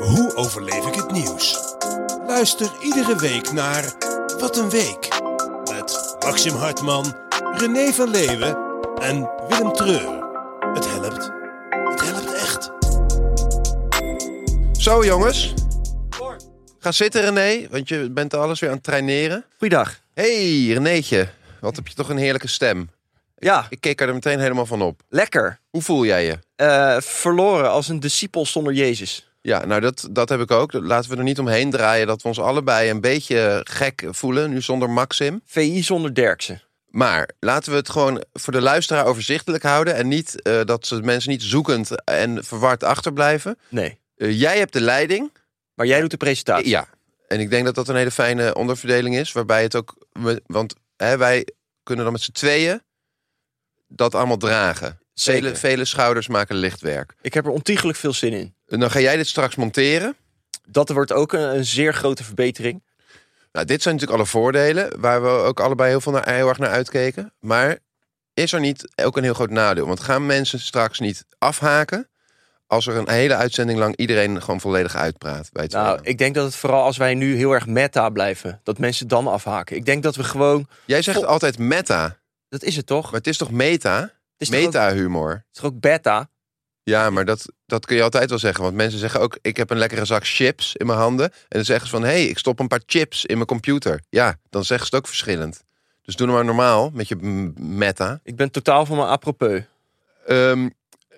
Hoe overleef ik het nieuws? Luister iedere week naar Wat een Week. Met Maxim Hartman, René van Leeuwen en Willem Treur. Het helpt. Het helpt echt. Zo jongens. Ga zitten René, want je bent alles weer aan het traineren. Goeiedag. Hé hey, Renéetje, wat heb je toch een heerlijke stem. Ja, Ik keek er meteen helemaal van op. lekker. Hoe voel jij je? Eh, verloren als een discipel zonder Jezus. Ja, nou dat, dat heb ik ook. Dat- Laten we er niet omheen draaien dat we ons allebei een beetje gek voelen, nu zonder Maxim. VI zonder Derksen. Maar laten we het gewoon voor de luisteraar overzichtelijk houden en niet eh, dat ze mensen niet zoekend en verward achterblijven. Nee. Eh, jij hebt de leiding. Maar jij doet de presentatie. Ja, en ik denk dat dat een hele fijne onderverdeling is. Waarbij het ook. we- Want hè, wij kunnen dan met z'n tweeën dat allemaal dragen. Zeker. Vele, vele schouders maken lichtwerk. Ik heb er ontiegelijk veel zin in. En dan ga jij dit straks monteren. Dat wordt ook een, een zeer grote verbetering. Nou, dit zijn natuurlijk alle voordelen. Waar we ook allebei heel, veel naar, heel erg naar uitkeken. Maar is er niet ook een heel groot nadeel? Want gaan mensen straks niet afhaken. Als er een hele uitzending lang iedereen gewoon volledig uitpraat. Bij het Nou, tweeën? ik denk dat het vooral als wij nu heel erg meta blijven, dat mensen dan afhaken. Ik denk dat we gewoon, Jij zegt Vol- altijd meta. dat is het toch? Maar het is toch meta? Het is toch ook- Meta-humor. het is toch ook beta? Ja, maar dat, dat kun je altijd wel zeggen. Want mensen zeggen ook, ik heb een lekkere zak chips in mijn handen. En dan zeggen ze van, hé, hey, ik stop een paar chips in mijn computer. Ja, dan zeggen ze het ook verschillend. Dus doe nou maar normaal met je m- meta. Ik ben totaal van mijn apropos. Ehm,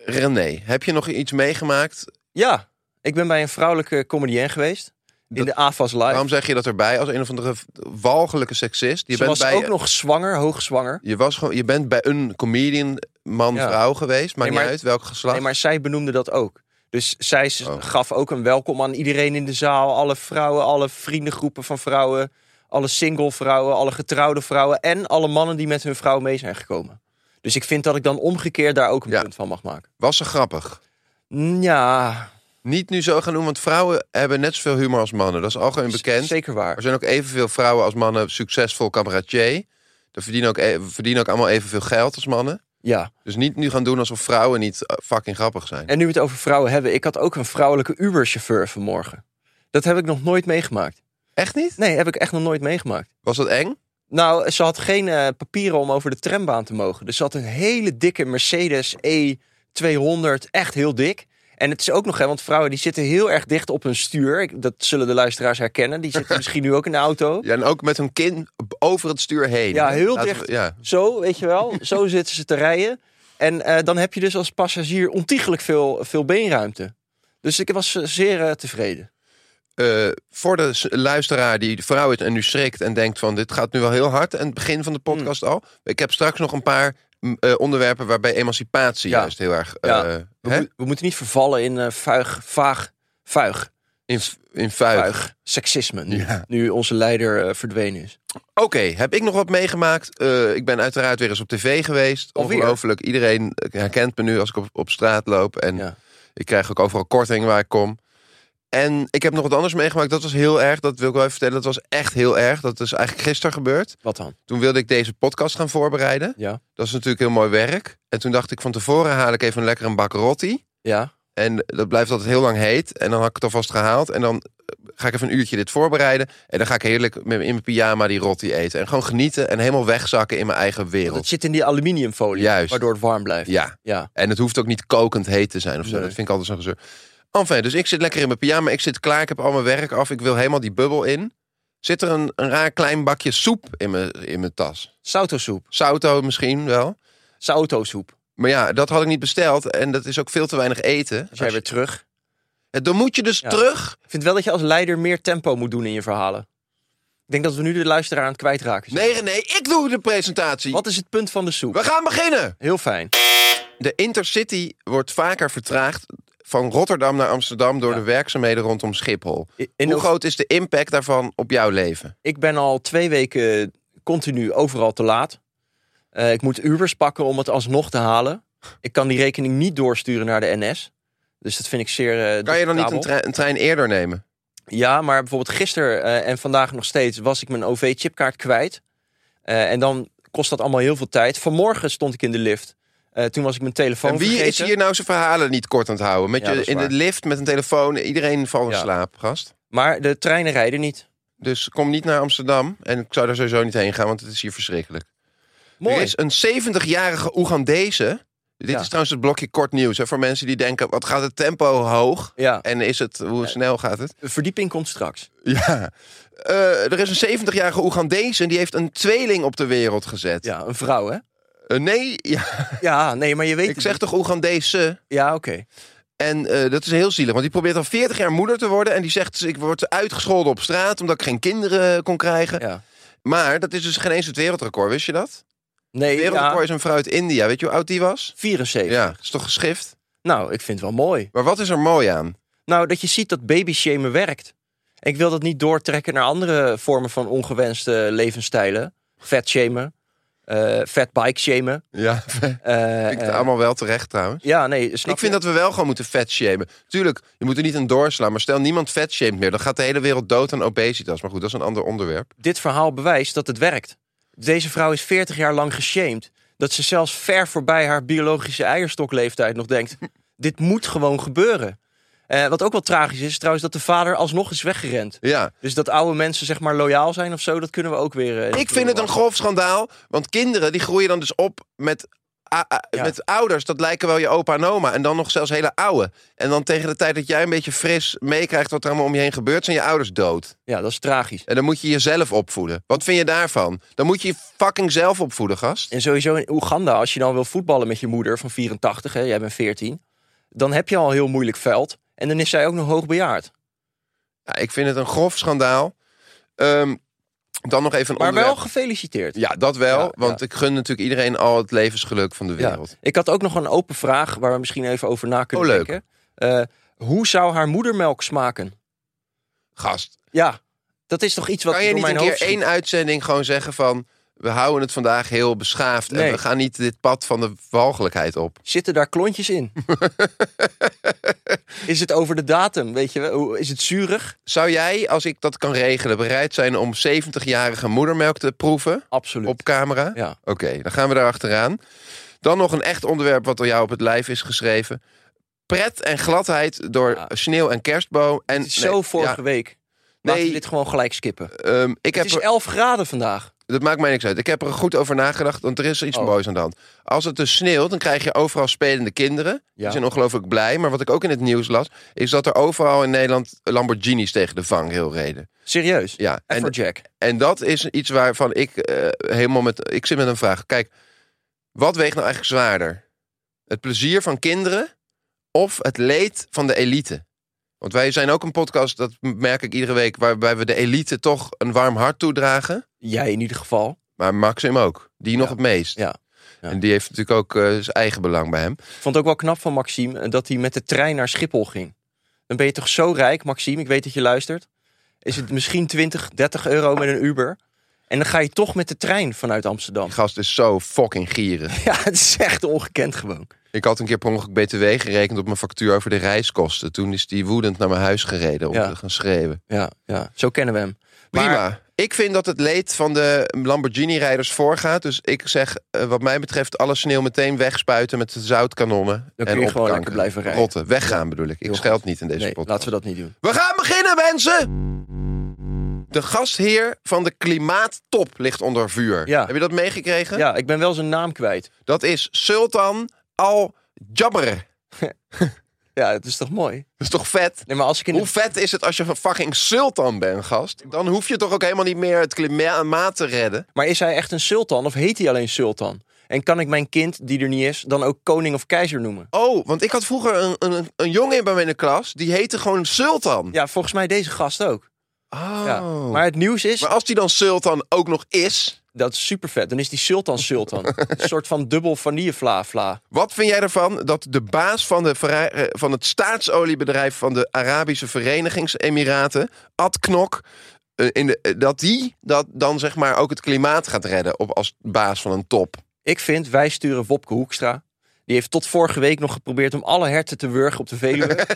René, heb je nog iets meegemaakt? Ah, Ja, ik ben bij een vrouwelijke comedienne geweest. In Dat- de AFAS Live. Waarom zeg je dat erbij als een of andere walgelijke seksist? Je Ze was bij, ook nog zwanger, hoogzwanger. Je, was gewoon, je bent bij een comedian Ja. man-vrouw geweest. Maakt Nee, maar- niet uit welk geslacht. Nee, maar zij benoemde dat ook. Dus zij s- Oh. gaf ook een welkom aan iedereen in de zaal. Alle vrouwen, alle vriendengroepen van vrouwen. Alle single vrouwen, alle getrouwde vrouwen. En alle mannen die met hun vrouw mee zijn gekomen. Dus ik vind dat ik dan omgekeerd daar ook een Ja. punt van mag maken. Was ze grappig? Ja, Niet nu zo gaan doen, want vrouwen hebben net zoveel humor als mannen. Dat is algemeen z- bekend. zeker Er waar. zijn ook evenveel vrouwen als mannen succesvol cabaretier. Ze verdienen ook, e- verdienen ook allemaal evenveel geld als mannen. Ja. Dus niet nu gaan doen alsof vrouwen niet eh, fucking grappig zijn. En nu we het over vrouwen hebben. Ik had ook een vrouwelijke Uber-chauffeur vanmorgen. Dat heb ik nog nooit meegemaakt. Echt niet? Nee, heb ik echt nog nooit meegemaakt. Was dat eng? Nou, ze had geen eh, papieren om over de trambaan te mogen. Dus ze had een hele dikke Mercedes E200. Echt heel dik. En het is ook nog, hè, want vrouwen die zitten heel erg dicht op hun stuur. Ik- Dat zullen de luisteraars herkennen. Die zitten misschien nu ook in de auto. Ja, en ook met hun kin over het stuur heen. Ja, heel Laten we- dicht. ja. Zo, weet je wel. Zo zitten ze te rijden. En eh, dan heb je dus als passagier ontiegelijk veel, veel beenruimte. Dus ik was eh, zeer eh, tevreden. Eh, voor de s- luisteraar die de vrouw is en nu schrikt en denkt van dit gaat nu wel heel hard. En het begin van de Hmm. podcast al. Ik heb straks nog een paar m, eh, onderwerpen waarbij emancipatie Ja. juist heel erg... Ja. eh, We, hè? mo- we moeten niet vervallen in eh, vuig, vaag, vuig, In, v- in vuig. vuig, seksisme. Nu, Ja. nu onze leider eh, verdwenen is. Oké, heb ik nog wat meegemaakt? Eh, ik ben uiteraard weer eens op tv geweest. Alweer? Ongelooflijk. Iedereen eh, herkent me nu als ik op, op straat loop. En Ja. ik krijg ook overal korting waar ik kom. En ik heb nog wat anders meegemaakt. Dat was heel erg. Dat wil ik wel even vertellen. Dat was echt heel erg. Dat is eigenlijk gisteren gebeurd. Wat dan? Toen wilde ik deze podcast gaan voorbereiden. Ja. Dat is natuurlijk heel mooi werk. En toen dacht ik van tevoren haal ik even lekker een bak rotti. Ja, En dat blijft altijd heel lang heet. En dan had ik het alvast gehaald. En dan ga ik even een uurtje dit voorbereiden. En dan ga ik heerlijk met- in mijn pyjama die rotti eten. En gewoon genieten en helemaal wegzakken in mijn eigen want het wereld. zit in die aluminiumfolie, Juist. waardoor het warm blijft. Ja, Ja. en het hoeft ook niet kokend heet te zijn of zo. Nee. Dat vind ik altijd zo'n gezeur. Enfin, dus ik zit lekker in mijn pyjama. Ik zit klaar. Ik heb al mijn werk af. Ik wil helemaal die bubbel in. Zit er een, een raar klein bakje soep in mijn, in mijn tas. Sautosoep, Sauto misschien wel. sautosoep. Maar ja, dat had ik niet besteld. En dat is ook veel te weinig eten. Als jij weer terug. Dan moet je dus Ja. terug. Ik vind wel dat je als leider meer tempo moet doen in je verhalen. Ik denk dat we nu de luisteraar aan het kwijtraken zijn. Nee, René, ik doe de presentatie. Wat is het punt van de soep? We gaan beginnen. Heel fijn. De Intercity wordt vaker vertraagd van Rotterdam naar Amsterdam door de werkzaamheden rondom Schiphol. In Hoe Oost- groot is de impact daarvan op jouw leven? Ik ben al twee weken continu overal te laat. Eh, ik moet Ubers pakken om het alsnog te halen. Ik kan die rekening niet doorsturen naar de NS. Dus dat vind ik zeer. eh, Kan je dan niet discutabel. een, trein- een trein eerder nemen? Ja, maar bijvoorbeeld gisteren eh, en vandaag nog steeds was ik mijn OV-chipkaart kwijt. Eh, en dan kost dat allemaal heel veel tijd. Vanmorgen stond ik in de lift. Eh, toen was ik mijn telefoon en wie is vergeten. hier nou zijn verhalen niet kort aan het houden? Met Ja, je dat is in de waar. lift, met een telefoon, iedereen valt in Ja. slaap, gast. Maar de treinen rijden niet. Dus kom niet naar Amsterdam. En ik zou daar sowieso niet heen gaan, want het is hier verschrikkelijk. Mooi. Er is een 70-jarige Oegandese. Dit Ja. is trouwens het blokje kort nieuws. Hè, voor mensen die denken, wat gaat het tempo hoog? Ja, En is het, hoe snel gaat het? de verdieping komt straks. Ja. Eh, er is een 70-jarige Oegandese en die heeft een tweeling op de wereld gezet. Ja, een vrouw, hè? Eh, nee, ja, Ja, nee, maar je weet ik het zeg niet. toch Oegandese? Ja, oké. En eh, dat is heel zielig, want die probeert al 40 jaar moeder te worden. En die zegt, ik word uitgescholden op straat omdat ik geen kinderen eh, kon krijgen. Ja. Maar dat is dus geen eens het wereldrecord, wist je dat? Het Nee, wereldrecord ja, is een vrouw uit India. Weet je hoe oud die was? 74. Ja, is toch geschift? Nou, ik vind het wel mooi. Maar wat is er mooi aan? Nou, dat je ziet dat babyshamen werkt. Ik wil dat niet doortrekken naar andere vormen van ongewenste levensstijlen. Vet shamen, eh vet bike shamen. Ja, vind eh, ik het eh, allemaal wel terecht trouwens. Ja, nee, snap Ik vind je? dat we wel gewoon moeten vetshamen. Tuurlijk, je moet er niet aan doorslaan. Maar stel, niemand vetshamt meer. Dan gaat de hele wereld dood aan obesitas. Maar goed, dat is een ander onderwerp. dit verhaal bewijst dat het werkt. Deze vrouw is 40 jaar lang geshamed. Dat ze zelfs ver voorbij haar biologische eierstokleeftijd nog denkt... dit moet gewoon gebeuren. Eh, wat ook wel tragisch is trouwens dat de vader alsnog is weggerend. Ja, Dus dat oude mensen zeg maar loyaal zijn of zo, dat kunnen we ook weer... eh, ik niet vind het een doen. grof schandaal. Want kinderen die groeien dan dus op met, a- a- Ja. met ouders. Dat lijken wel je opa en oma. En dan nog zelfs hele oude. En dan tegen de tijd dat jij een beetje fris meekrijgt wat er allemaal om je heen gebeurt, zijn je ouders dood. Ja, dat is tragisch. En dan moet je jezelf opvoeden. Wat vind je daarvan? Dan moet je je fucking zelf opvoeden, gast. En sowieso in Oeganda, als je dan wil voetballen met je moeder van 84, hè, jij bent 14... dan heb je al een heel moeilijk veld. En dan is zij ook nog hoogbejaard. Ja, ik vind het een grof schandaal. Ehm, dan nog even een Maar wel onderwerp. gefeliciteerd. Ja, dat wel. Ja, want ik gun natuurlijk iedereen al het levensgeluk van de wereld. Ja. Ik had ook nog een open vraag waar we misschien even over na kunnen Oh, leuk. denken. Eh, hoe zou haar moedermelk smaken? Gast, Ja, dat is toch iets wat kan je door niet een mijn keer hoofd schiet? één uitzending gewoon zeggen van... we houden het vandaag heel beschaafd... en Nee. we gaan niet dit pad van de walgelijkheid op. Zitten daar klontjes in? is het over de datum, weet je wel? Hoe- Is het zuurig? Zou jij, als ik dat kan regelen... bereid zijn om 70-jarige moedermelk te proeven Absoluut. op camera? Ja. Oké, dan gaan we daar achteraan. Dan nog een echt onderwerp wat door jou op het lijf is geschreven. Pret en gladheid door Ja. sneeuw en kerstboom. En, Het is zo nee, vorige ja, week. Laten Nee. we dit gewoon gelijk skippen. ehm, ik heb het is er- 11 graden vandaag. Dat maakt mij niks uit. Ik heb er goed over nagedacht, want er is iets Oh. moois aan de hand. Als het dus sneeuwt, dan krijg je overal spelende kinderen. Ja. Die zijn ongelooflijk blij. Maar wat ik ook in het nieuws las, is dat er overal in Nederland Lamborghinis tegen de vangrail reden. Serieus. Ja, en, Afrojack. en dat is iets waarvan ik eh, helemaal met... Ik zit met een vraag. Kijk, wat weegt nou eigenlijk zwaarder? Het plezier van kinderen of het leed van de elite? Want wij zijn ook een podcast, dat merk ik iedere week... waarbij we de elite toch een warm hart toedragen... Jij in ieder geval. Maar Maxim ook. Die nog Ja. het meest. Ja. Ja. En die heeft natuurlijk ook eh, zijn eigen belang bij hem. Ik vond het ook wel knap van Maxime eh, dat hij met de trein naar Schiphol ging. Dan ben je toch zo rijk, Maxime, ik weet dat je luistert. Is het misschien 20, 30 euro met een Uber? En dan ga je toch met de trein vanuit Amsterdam. Die gast is zo fucking gierig. Ja, het is echt ongekend gewoon. Ik had een keer per ongeluk BTW gerekend op mijn factuur over de reiskosten. Toen is die woedend naar mijn huis gereden om Ja. te gaan schreeuwen. Ja, ja, zo kennen we hem. Maar- Prima. Ik vind dat het leed van de Lamborghini-rijders voorgaat. Dus ik zeg, eh, wat mij betreft, alle sneeuw meteen wegspuiten met de zoutkanonnen. Dan en kun je gewoon opkanken. lekker blijven rijden. Rotten. Weggaan bedoel ik. Ik Heel scheld goed. niet in deze Nee, podcast. laten we dat niet doen. We gaan beginnen, mensen! De gastheer van de klimaattop ligt onder vuur. Ja. Heb je dat meegekregen? Ja, ik ben wel zijn naam kwijt. Dat is Sultan al Jabber. Dat Ja, het is toch mooi? is toch vet? Nee, maar als ik in de- Hoe vet is het als je een fucking sultan bent, gast? Dan hoef je toch ook helemaal niet meer het klimaat te redden? Maar is hij echt een sultan of heet hij alleen sultan? En kan ik mijn kind, die er niet is, dan ook koning of keizer noemen? Oh, want ik had vroeger een, een, een jongen bij mij in de klas... die heette gewoon Sultan. Ja, volgens mij deze gast ook. Oh. Ja. Maar het nieuws is... Maar als die dan Sultan ook nog is... Dat is super vet. Dan is die Sultan Sultan. een soort van dubbel vanillevla vla. Wat vind jij ervan dat de baas van, de, vera- eh, van het staatsoliebedrijf van de Arabische Verenigingsemiraten, Ad Knok, eh, in de, eh, dat die dat dan zeg maar ook het klimaat gaat redden op, als baas van een top? Ik vind, wij sturen Wopke Hoekstra. Die heeft tot vorige week nog geprobeerd om alle herten te wurgen op de Veluwe.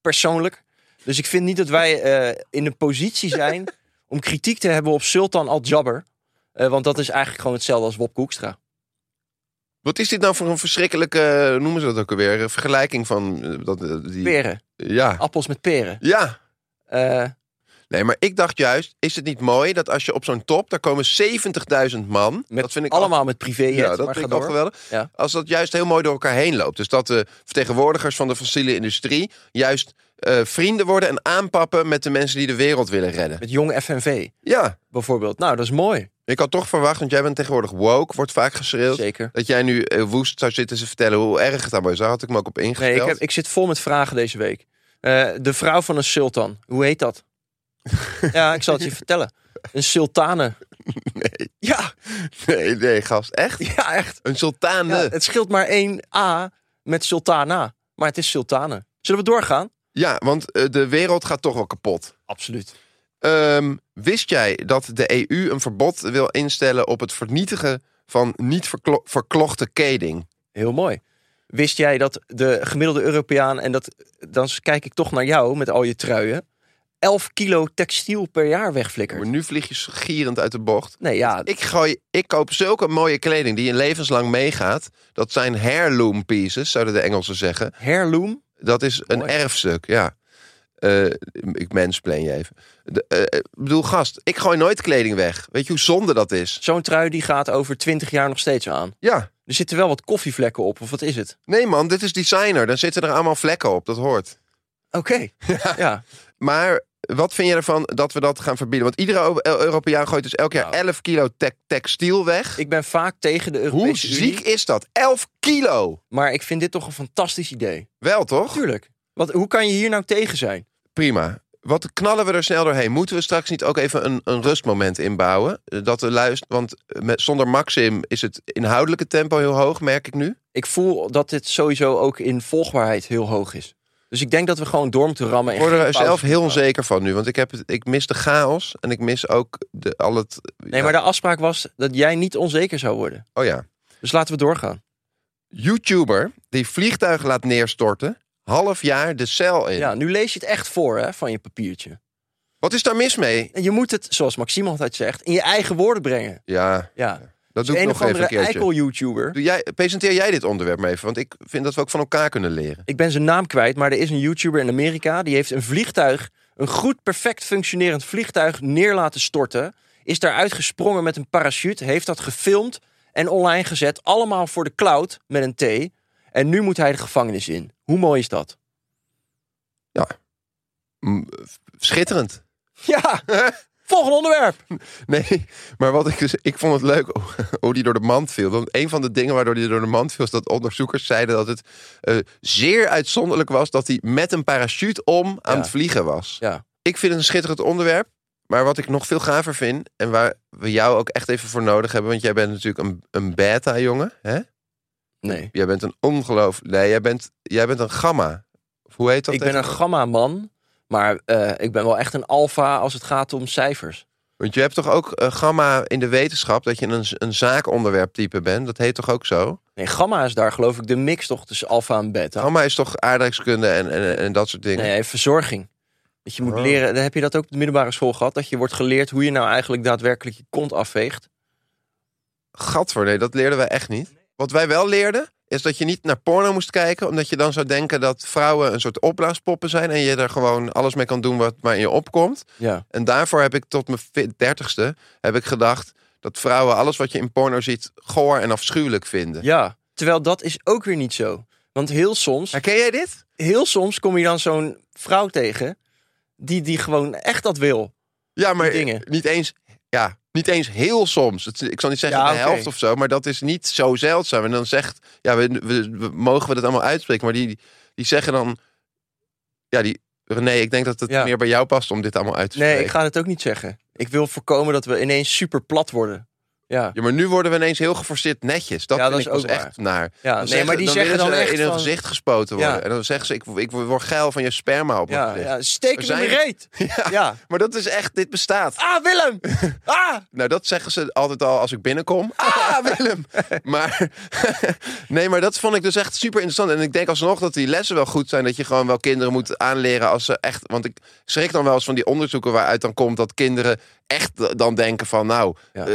Persoonlijk. Dus ik vind niet dat wij eh, in een positie zijn om kritiek te hebben op Sultan Al-Jabber. Eh, want dat is eigenlijk gewoon hetzelfde als Wopke Hoekstra. Wat is dit nou voor een verschrikkelijke, eh, noemen ze dat ook alweer, eh, vergelijking van eh, dat, eh, die, Peren. Ja. Appels met peren. Ja. Eh, Nee, maar ik dacht juist, is het niet mooi dat als je op zo'n top, daar komen 70.000 man. met dat vind ik allemaal met privé. al- ja, dat maar ga vind ik al door. geweldig. Ja. Als dat juist heel mooi door elkaar heen loopt. Dus dat de vertegenwoordigers van de fossiele industrie juist eh, vrienden worden en aanpappen met de mensen die de wereld willen redden. Met jong FNV Ja, bijvoorbeeld. Nou, dat is mooi. ik had toch verwacht, want jij bent tegenwoordig woke, wordt vaak geschreeuwd. Zeker. Dat jij nu eh, woest zou zitten ze vertellen hoe erg het allemaal is. Daar had ik me ook op ingesteld. Nee, ik, heb, ik zit vol met vragen deze week. Eh, de vrouw van een sultan, hoe heet dat? ja, ik zal het je vertellen. Een sultane. nee. Ja, nee, nee, gast. Echt? ja echt. Een sultane. Ja, Ja, het scheelt maar één A met sultana. Maar het is sultane. Zullen we doorgaan? want eh, de wereld gaat toch wel kapot. Absoluut. Ehm, wist jij dat de EU een verbod wil instellen op het vernietigen van niet verklo- verklochte kleding? Heel mooi. Wist jij dat de gemiddelde Europeaan, en dat, dan kijk ik toch naar jou met al je truien, 11 kilo textiel per jaar Maar wegflikkert? nu vlieg je gierend uit de bocht. Nee, ja, Oh, Ik, gooi, ik koop zulke mooie kleding die een levenslang meegaat. Dat zijn heirloom pieces, zouden de Engelsen zeggen. heirloom. Dat is een Mooi. erfstuk, ja. Eh, ik mensplain je even. De, eh, eh, ik bedoel, gast, ik gooi nooit kleding weg. Weet je hoe zonde dat is? Zo'n trui die gaat over 20 jaar nog steeds aan. Ja, Er zitten wel wat koffievlekken op, of wat is het? nee man, dit is designer. Dan zitten er allemaal vlekken op, dat hoort. Oké. Ja. Maar wat vind je ervan dat we dat gaan verbieden? Want iedere Eu- Europeaan gooit dus elk jaar Nou. 11 kilo te- textiel weg. Ik ben vaak tegen de Europese Hoe Unie, ziek is dat? 11 kilo! maar ik vind dit toch een fantastisch idee. Wel toch? Tuurlijk. Want hoe kan je hier nou tegen zijn? Prima. Wat knallen we er snel doorheen? Moeten we straks niet ook even een, een rustmoment inbouwen? Eh, Dat we luisteren, want eh, met, zonder Maxim is het inhoudelijke tempo heel hoog, merk ik nu. Ik voel dat dit sowieso ook in volgbaarheid heel hoog is. Dus ik denk dat we gewoon door moeten rammen. Ik en word geen er pauze zelf heel moeten onzeker van nu, want ik, heb, het- ik mis de chaos en ik mis ook de, al het... houden. Nee, maar de afspraak was dat jij niet onzeker zou worden. Oh ja. Dus laten we doorgaan. YouTuber die vliegtuig laat neerstorten, half jaar de cel in. Ja, nu lees je het echt voor hè, van je papiertje. Wat is daar mis mee? En je moet het, zoals Maxime altijd zegt, in je eigen woorden brengen. Ja, Ja. dat doe ik een nog of even een andere keertje. eikel-YouTuber. Doe jij, presenteer jij dit onderwerp maar even, want ik vind dat we ook van elkaar kunnen leren. Ik ben zijn naam kwijt, maar er is een YouTuber in Amerika. Die heeft een vliegtuig, een goed, perfect functionerend vliegtuig neer laten storten. Is daaruit gesprongen met een parachute. Heeft dat gefilmd en online gezet. Allemaal voor de cloud met een T. En nu moet hij de gevangenis in. Hoe mooi is dat? Mm, Schitterend. Ja, volgende onderwerp. Nee, maar wat ik dus, ik vond het leuk hoe die door de mand viel. Want een van de dingen waardoor die door de mand viel, is dat onderzoekers zeiden dat het eh, zeer uitzonderlijk was dat hij met een parachute om aan Ja. het vliegen was. Ja. Ik vind het een schitterend onderwerp. Maar wat ik nog veel gaver vind, en waar we jou ook echt even voor nodig hebben, want jij bent natuurlijk een, een beta-jongen, hè? Nee, Jij bent een ongeloof. Nee, jij bent, jij bent een gamma. Of hoe heet dat? ik ben een tegenwoordig? gamma-man. Maar eh, ik ben wel echt een alfa als het gaat om cijfers. Want je hebt toch ook eh, gamma in de wetenschap, dat je een, een zaakonderwerptype bent. Dat heet toch ook zo? Nee, gamma is daar geloof ik de mix toch tussen alfa en beta. Gamma is toch aardrijkskunde en, en, en dat soort dingen. Nee, verzorging. Dat je moet Oh. leren, heb je dat ook op de middelbare school gehad? Dat je wordt geleerd hoe je nou eigenlijk daadwerkelijk je kont afveegt. Gadver, nee, dat leerden wij echt niet. Wat wij wel leerden, is dat je niet naar porno moest kijken, omdat je dan zou denken dat vrouwen een soort opblaaspoppen zijn en je er gewoon alles mee kan doen wat maar in je opkomt. Ja. En daarvoor heb ik tot mijn vi- dertigste heb ik gedacht dat vrouwen alles wat je in porno ziet goor en afschuwelijk vinden. ja. Terwijl dat is ook weer niet zo. Want heel soms, Herken jij dit? heel soms kom je dan zo'n vrouw tegen die, die gewoon echt dat wil. Ja, maar Die dingen. niet eens. Ja, niet eens heel soms. Het- ik zal niet zeggen Ja, de oké. helft of zo, maar dat is niet zo zeldzaam. En dan zegt, ja, we, we- we- mogen we dat allemaal uitspreken, maar die, die zeggen dan, ja, die René, ik denk dat het Ja. meer bij jou past om dit allemaal uit te Nee, spreken. ik ga het ook niet zeggen. Ik wil voorkomen dat we ineens super plat worden. Ja. Ja, maar nu worden we ineens heel geforceerd netjes. Dat, Ja, dat vind is ik ook pas echt naar. Ja, Dan nee, zeggen- maar die dan zeggen willen dan ze echt in hun van- gezicht gespoten worden. Ja. En dan zeggen ze, ik, ik word geil van je sperma op mijn Ja, gezicht. ja, steek Er hem in de zijn- reet. Ja. Maar dat is echt, dit bestaat. Ah, Willem! Ah! Nou, dat zeggen ze altijd al als ik binnenkom. Ah, Willem! Maar nee, maar dat vond ik dus echt super interessant. En ik denk alsnog dat die lessen wel goed zijn. Dat je gewoon wel kinderen moet aanleren als ze echt... Want ik schrik dan wel eens van die onderzoeken waaruit dan komt... dat kinderen echt dan denken van, nou, Ja. eh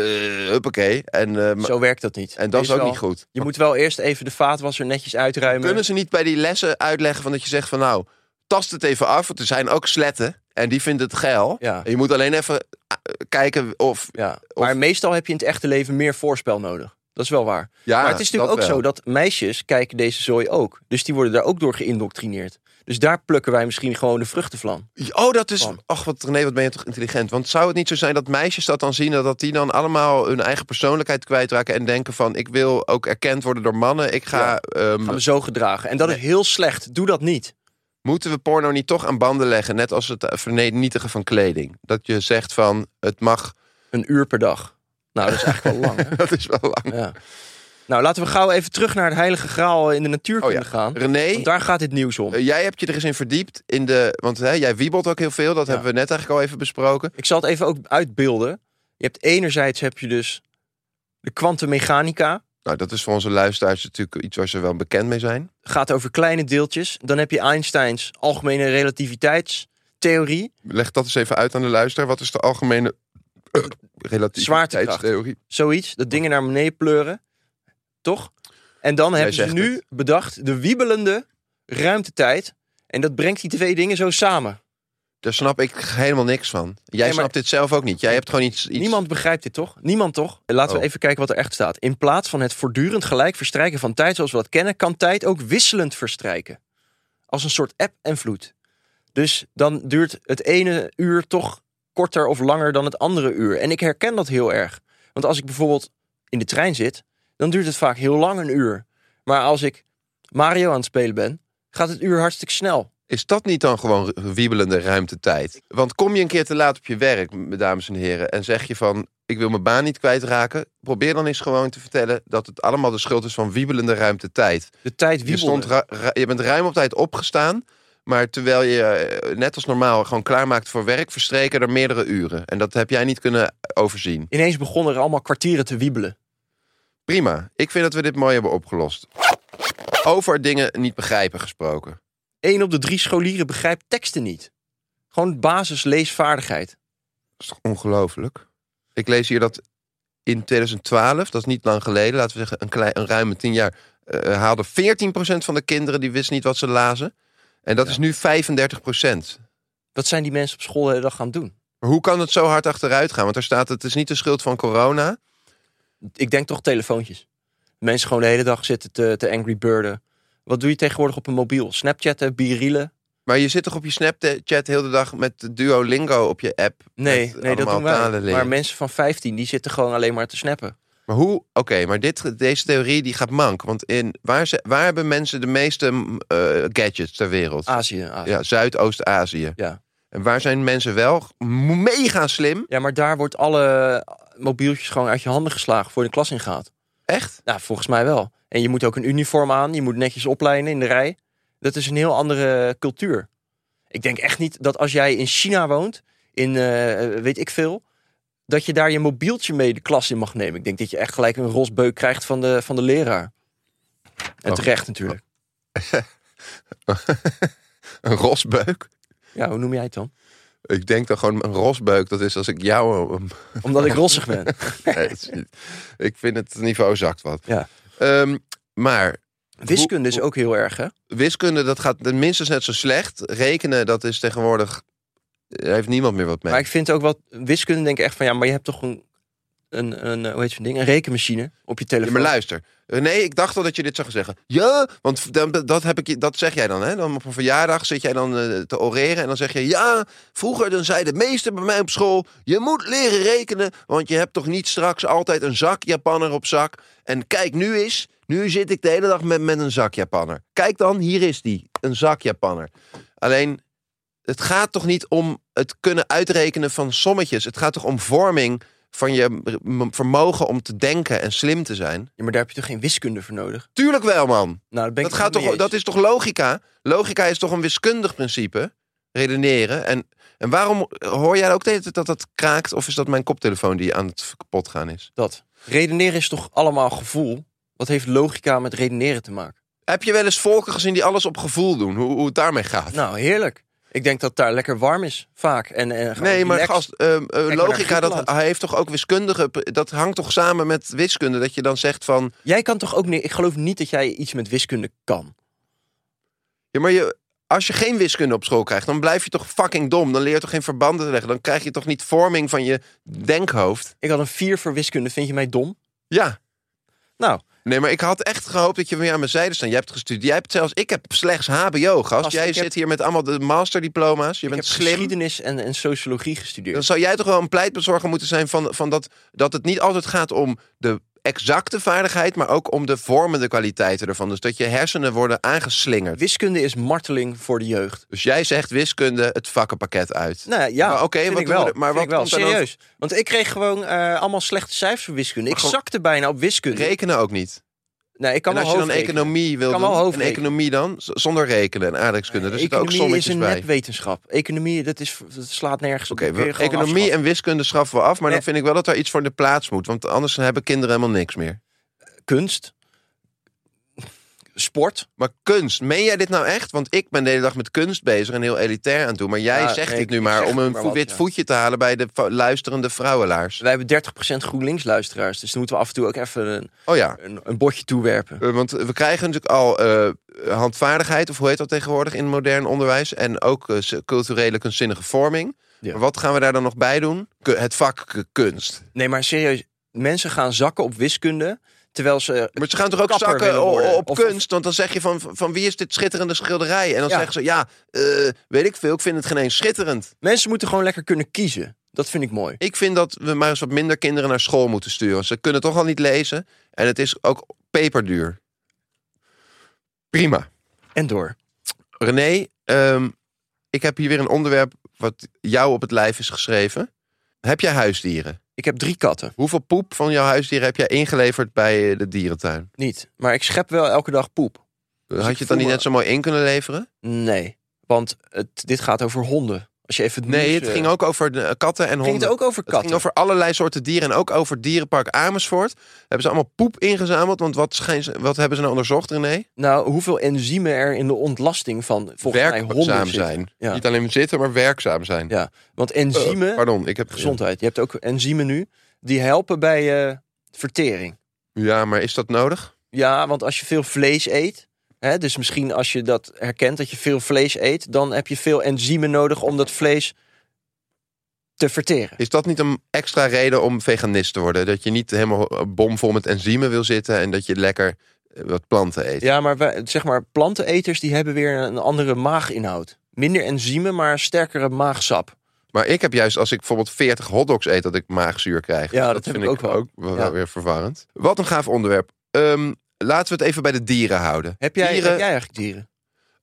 huppakee. En, eh, maar- Zo werkt dat niet. en dat Er is ook wel- niet goed. Je moet wel eerst even de vaatwasser netjes uitruimen. Kunnen ze niet bij die lessen uitleggen van dat je zegt van nou, tast het even af, want er zijn ook sletten en die vinden het geil. Ja. En je moet alleen even eh, kijken of Ja. Of- Maar meestal heb je in het echte leven meer voorspel nodig. Dat is wel waar. ja, maar het is natuurlijk ook dat wel. zo dat meisjes kijken deze zooi ook. Dus die worden daar ook door geïndoctrineerd. Dus daar plukken wij misschien gewoon de vruchten van. Oh, dat is. Van. Ach, wat René, wat ben je toch intelligent? Want zou het niet zo zijn dat meisjes dat dan zien en dat die dan allemaal hun eigen persoonlijkheid kwijtraken en denken van ik wil ook erkend worden door mannen. Ik ga. Ja. ehm, Gaan we zo gedragen. En dat is heel slecht. Doe dat niet. moeten we porno niet toch aan banden leggen, net als het eh, vernietigen van kleding? Dat je zegt van het mag. Een uur per dag. Nou, dat is eigenlijk wel lang. dat is wel lang. hè? Ja. Nou, laten we gauw even terug naar het heilige graal in de Oh natuurkunde ja, gaan. René, Want daar gaat dit nieuws om. Eh, jij hebt je er eens in verdiept. In de, want hè, jij wiebelt ook heel veel. Dat Ja. hebben we net eigenlijk al even besproken. Ik zal het even ook uitbeelden. Je hebt enerzijds heb je dus de kwantummechanica. Nou, dat is voor onze luisteraars natuurlijk iets waar ze wel bekend mee zijn. Gaat over kleine deeltjes. Dan heb je Einsteins algemene relativiteitstheorie. Leg dat eens even uit aan de luisteraar. Wat is de algemene eh, relativiteitstheorie? Zoiets. Dat dingen naar beneden pleuren. Toch? En dan hebben ze zegt nu bedacht de wiebelende ruimtetijd. En dat brengt die twee dingen zo samen. Daar snap ik helemaal niks van. Jij maar- snapt dit zelf ook niet. Jij hebt gewoon iets... iets... Niemand begrijpt dit toch? Niemand toch? Laten Oh. we even kijken wat er echt staat. In plaats van het voortdurend gelijk verstrijken van tijd zoals we dat kennen, kan tijd ook wisselend verstrijken. Als een soort app en vloed. Dus dan duurt het ene uur toch korter of langer dan het andere uur. En ik herken dat heel erg. Want als ik bijvoorbeeld in de trein zit, dan duurt het vaak heel lang een uur. Maar als ik Mario aan het spelen ben, gaat het uur hartstikke snel. Is dat niet dan gewoon wiebelende ruimtetijd? Want kom je een keer te laat op je werk, m- dames en heren, en zeg je van: Ik wil mijn baan niet kwijtraken. Probeer dan eens gewoon te vertellen dat het allemaal de schuld is van wiebelende ruimtetijd. De tijd Je, wiebelt. stond ra- ra- je bent ruim op tijd opgestaan. Maar terwijl je eh, net als normaal gewoon klaarmaakt voor werk, verstreken er meerdere uren. En dat heb jij niet kunnen overzien. Ineens begonnen er allemaal kwartieren te wiebelen. Prima. Ik vind dat we dit mooi hebben opgelost. Over dingen niet begrijpen gesproken. 1 op de drie scholieren begrijpt teksten niet. Gewoon basisleesvaardigheid. Dat is toch ongelooflijk? Ik lees hier dat in 2012, dat is niet lang geleden, laten we zeggen een, klein, een ruime tien jaar, eh, haalde 14% van de kinderen die wist niet wat ze lazen. En dat is nu 35%. Wat zijn die mensen op school de hele dag gaan doen? Maar hoe kan het zo hard achteruit gaan? Want daar staat, het is niet de schuld van corona. Ik denk toch telefoontjes. Mensen gewoon de hele dag zitten te, te angry birden. Wat doe je tegenwoordig op een mobiel? Snapchatten, birielen? Maar je zit toch op je Snapchat heel de dag met de Duolingo op je app? Nee, Met nee dat allemaal doen wij. talen leren. Maar mensen van 15 die zitten gewoon alleen maar te snappen. Maar hoe, oké, maar dit, deze theorie die gaat mank. Want in, waar, ze, waar hebben mensen de meeste mm, eh, gadgets ter wereld? Azië, Azië. Ja. Ja, Zuidoost-Azië. Ja. En waar zijn mensen wel g- mega slim? maar daar wordt alle mobieltjes gewoon uit je handen geslagen voor je de klas ingaat. Echt? Nou, volgens mij wel. En je moet ook een uniform aan. Je moet netjes opleiden in de rij. Dat is een heel andere cultuur. Ik denk echt niet dat als jij in China woont, in eh, weet ik veel, dat je daar je mobieltje mee de klas in mag nemen. Ik denk dat je echt gelijk een rosbeuk krijgt van de, van de leraar. En Oh. terecht natuurlijk. Een rosbeuk? Ja, hoe noem jij het dan? Ik denk dan gewoon een rosbeuk. Dat is als ik jou... een- Omdat ik rossig ben. Nee, dat is niet- ik vind het niveau zakt wat. Ja. Ehm, maar Wiskunde is ook heel erg, hè? wiskunde, dat gaat minstens net zo slecht. Rekenen, dat is tegenwoordig... Daar heeft niemand meer wat mee. Maar ik vind ook wat wiskunde denk ik echt van ja, maar je hebt toch een, een, een eh, hoe heet zo'n ding? Een rekenmachine op je Ja, telefoon. maar luister. Eh, Nee, ik dacht al dat je dit zou gaan zeggen. Ja, want dan, dat, heb ik, je- dat zeg jij dan. Hè? dan op een verjaardag zit jij dan eh, te oreren en dan zeg je... Ja, vroeger dan zei de meester bij mij op school... Je moet leren rekenen, want je hebt toch niet straks altijd een zak Japanner op zak. En kijk nu eens, nu zit ik de hele dag met, met een zak Japanner. Kijk dan, hier is die, een zak Japanner. Alleen, het gaat toch niet om het kunnen uitrekenen van sommetjes. Het gaat toch om vorming van je m- vermogen om te denken en slim te zijn. Ja, maar daar heb je toch geen wiskunde voor nodig? Tuurlijk wel, man. Nou, dat ben Dat, ik gaat toch, dat is toch logica? Logica is toch een wiskundig principe? Redeneren. En, en waarom hoor jij ook de hele tijd dat dat kraakt? Of is dat mijn koptelefoon die aan het kapot gaan is? dat. Redeneren is toch allemaal gevoel? Wat heeft logica met redeneren te maken? Heb je wel eens volken gezien die alles op gevoel doen? Hoe, hoe het daarmee gaat? Nou, heerlijk. Ik denk dat het daar lekker warm is, vaak. En, en gewoon nee, maar relaxed. gast, ehm, eh, maar naar logica, dat Griekenland. hij heeft toch ook wiskundige... Dat hangt toch samen met wiskunde? Dat je dan zegt van... Jij kan toch ook... Nee, ik geloof niet dat jij iets met wiskunde kan. Ja, maar je, als je geen wiskunde op school krijgt, dan blijf je toch fucking dom. Dan leer je toch geen verbanden te leggen. Dan krijg je toch niet vorming van je denkhoofd. Ik had een 4 voor wiskunde. Vind je mij dom? Ja. Nou, Nee, maar ik had echt gehoopt dat je weer aan mijn zijde staat. Jij hebt gestudeerd. Jij hebt zelfs, ik heb slechts HBO, gast. Gast, jij ik zit heb- hier met allemaal de masterdiploma's. Je ik heb bent slim. geschiedenis en, en sociologie gestudeerd. Dan zou jij toch wel een pleitbezorger moeten zijn van, van dat, dat het niet altijd gaat om de exacte vaardigheid, maar ook om de vormende kwaliteiten ervan. Dus dat je hersenen worden aangeslingerd. Wiskunde is marteling voor de jeugd. Dus jij zegt wiskunde het vakkenpakket uit. Nou ja, ja, Maar oké, vind wat ik doen we wel. er- maar Vind wat ik wel. komt daar dan- serieus? Want ik kreeg gewoon eh, allemaal slechte cijfers voor wiskunde. Ik Maar gewoon- zakte bijna op wiskunde. Rekenen ook niet. nee, ik kan en wel als je dan hoofdrekenen. economie wil Kan wel doen, en hoofdrekenen. economie dan, Z- zonder rekenen en aardrijkskunde, er zitten ook economie is sommetjes een bij. nepwetenschap. Economie, dat, is, dat slaat nergens op. Oké, Dat kun je we- gewoon economie afschaffen. en wiskunde schaffen we af, maar dan Nee. vind ik wel dat daar iets voor in de plaats moet. Want anders hebben kinderen helemaal niks meer. kunst, sport. Maar kunst, meen jij dit nou echt? Want ik ben de hele dag met kunst bezig en heel elitair aan toe. Maar jij Ja, zegt nee, dit nu ik maar zeg om een maar vo- wat, wit ja. voetje te halen bij de va- luisterende vrouwenlaars. Wij hebben 30% GroenLinks luisteraars. Dus dan moeten we af en toe ook even een, Oh ja, een, een bordje toewerpen. Eh, want we krijgen natuurlijk al eh, handvaardigheid, of hoe heet dat tegenwoordig in modern onderwijs. En ook eh, s- culturele kunstzinnige vorming. Ja. Maar wat gaan we daar dan nog bij doen? Ku- het vak eh, kunst. Nee, maar serieus. Mensen gaan zakken op wiskunde. Terwijl ze. Maar ze gaan toch ook kapper zakken willen o- worden? op Of- kunst? Want dan zeg je van, van wie is dit schitterende schilderij? En dan Ja. zeggen ze, ja, eh, weet ik veel, ik vind het geen eens schitterend. Mensen moeten gewoon lekker kunnen kiezen. Dat vind ik mooi. Ik vind dat we maar eens wat minder kinderen naar school moeten sturen. Ze kunnen toch al niet lezen. En het is ook peperduur. Prima. En door. René, ehm, ik heb hier weer een onderwerp wat jou op het lijf is geschreven. Heb jij huisdieren? Ik heb drie katten. Hoeveel poep van jouw huisdieren heb jij ingeleverd bij eh, de dierentuin? Niet. Maar ik schep wel elke dag poep. Had je Dus ik het dan voel niet me- net zo mooi in kunnen leveren? Nee. Want het, dit gaat over honden. Als je even het Nee, nieuws, het eh, ging ook over de, eh, katten en honden. Ging het ook over Het katten? ging over allerlei soorten dieren en ook over het dierenpark Amersfoort. Hebben ze allemaal poep ingezameld? Want wat, schijn ze- wat hebben ze nou onderzocht, René? Nou, hoeveel enzymen er in de ontlasting van volgens mij honden werkzaam zitten. zijn. Ja. Niet alleen zitten, maar werkzaam zijn. Ja. Want Eh, enzymen. pardon, ik heb gezondheid. Je hebt ook enzymen nu die helpen bij eh, vertering. Ja, maar is dat nodig? Ja, want als je veel vlees eet, hè, dus misschien als je dat herkent dat je veel vlees eet, dan heb je veel enzymen nodig om dat vlees te verteren. Is dat niet een extra reden om veganist te worden? Dat je niet helemaal eh, bomvol met enzymen wil zitten en dat je lekker eh, wat planten eet. Ja, maar wij, zeg maar planteneters die hebben weer een andere maaginhoud. Minder enzymen, maar sterkere maagsap. Maar ik heb juist, als ik bijvoorbeeld 40 hotdogs eet, dat ik maagzuur krijg. Ja, dat heb vind ik ook wel. wel Ja. weer verwarrend. Wat een gaaf onderwerp. Ehm, laten we het even bij de dieren houden. Heb jij, Dieren- heb jij eigenlijk dieren?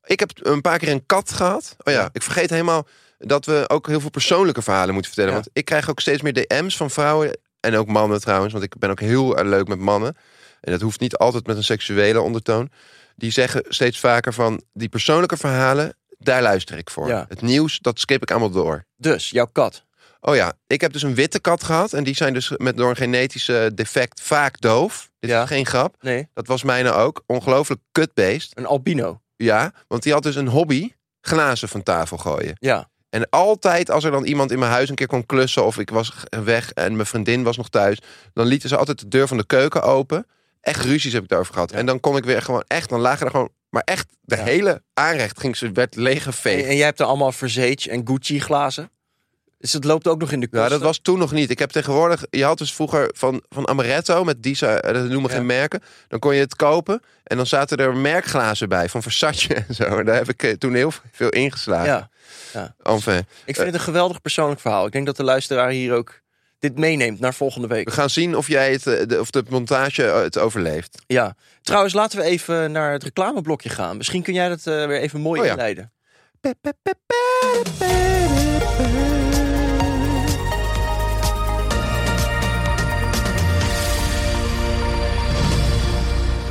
Ik heb een paar keer een kat gehad. Oh ja, ik vergeet helemaal dat we ook heel veel persoonlijke verhalen moeten vertellen. Ja. Want ik krijg ook steeds meer DM's van vrouwen. En ook mannen trouwens, want ik ben ook heel erg leuk met mannen. En dat hoeft niet altijd met een seksuele ondertoon. Die zeggen steeds vaker van die persoonlijke verhalen, daar luister ik voor. Ja. Het nieuws, dat skip ik allemaal door. Dus, jouw kat. Oh ja, ik heb dus een witte kat gehad. En die zijn dus met, door een genetische defect vaak doof. Dit Ja. is geen grap. Nee, Dat was mijne ook. Ongelooflijk kutbeest. een albino. Ja, want die had dus een hobby: glazen van tafel gooien. Ja. En altijd als er dan iemand in mijn huis een keer kon klussen of ik was g- weg en mijn vriendin was nog thuis, dan lieten ze altijd de deur van de keuken open. Echt ruzies heb ik daarover gehad. En dan kon ik weer gewoon echt, dan lagen er gewoon, maar echt de Ja. hele aanrecht ging ze werd En, leeggeveegd. en jij hebt er allemaal Versace en Gucci glazen. Dus eh, het loopt ook nog in de Nou, kosten. dat was toen nog niet. Ik heb tegenwoordig, je had dus vroeger van, van Amaretto met Disa, eh, dat noemen Ja. geen merken. Dan kon je het kopen en dan zaten er merkglazen bij van Versace en zo. En daar heb ik eh, toen heel veel ingeslagen. Ja. Enfin. Ik vind het een geweldig persoonlijk verhaal. Ik denk dat de luisteraar hier ook dit meeneemt naar volgende We week. gaan zien of jij het, eh, de, of de montage eh, het overleeft. Ja. Trouwens, laten we even naar het reclameblokje gaan. Misschien kun jij dat eh, weer even mooi Oh ja. inleiden.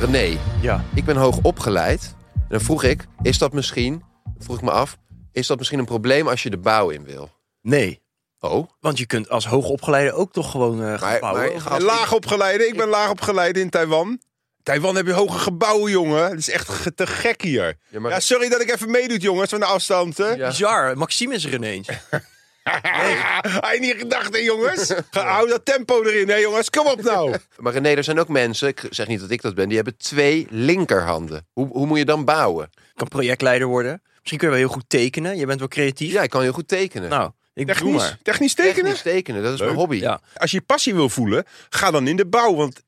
René, Ja. ik ben hoog opgeleid. En dan vroeg ik, is dat misschien, vroeg ik me af, is dat misschien een probleem als je de bouw in wil? Nee. Oh, Want je kunt als hoogopgeleide ook toch gewoon eh gaan maar, bouwen. maar gast, Laag opgeleide. Ik ben laag opgeleide in Taiwan. Taiwan heb je hoge gebouwen, jongen. Het is echt ge- te gek hier. Ja, maar- Ja, sorry dat ik even meedoet, jongens, van de afstand. hè. Ja. Bizar, Maxime is er ineens. Hij niet gedacht, hè, jongens? Ga, hou dat tempo erin, hè, jongens? Kom op nou. maar René, er zijn ook mensen, ik zeg niet dat ik dat ben, die hebben twee linkerhanden. Hoe, hoe moet je dan bouwen? Kan projectleider worden. Misschien kun je wel heel goed tekenen. Je bent wel creatief. Ja, ik kan heel goed tekenen. Nou, ik doe Technisch, maar. technisch tekenen? Technisch tekenen, dat is mijn Leuk. hobby. Ja. Als je je passie wil voelen, ga dan in de bouw. Want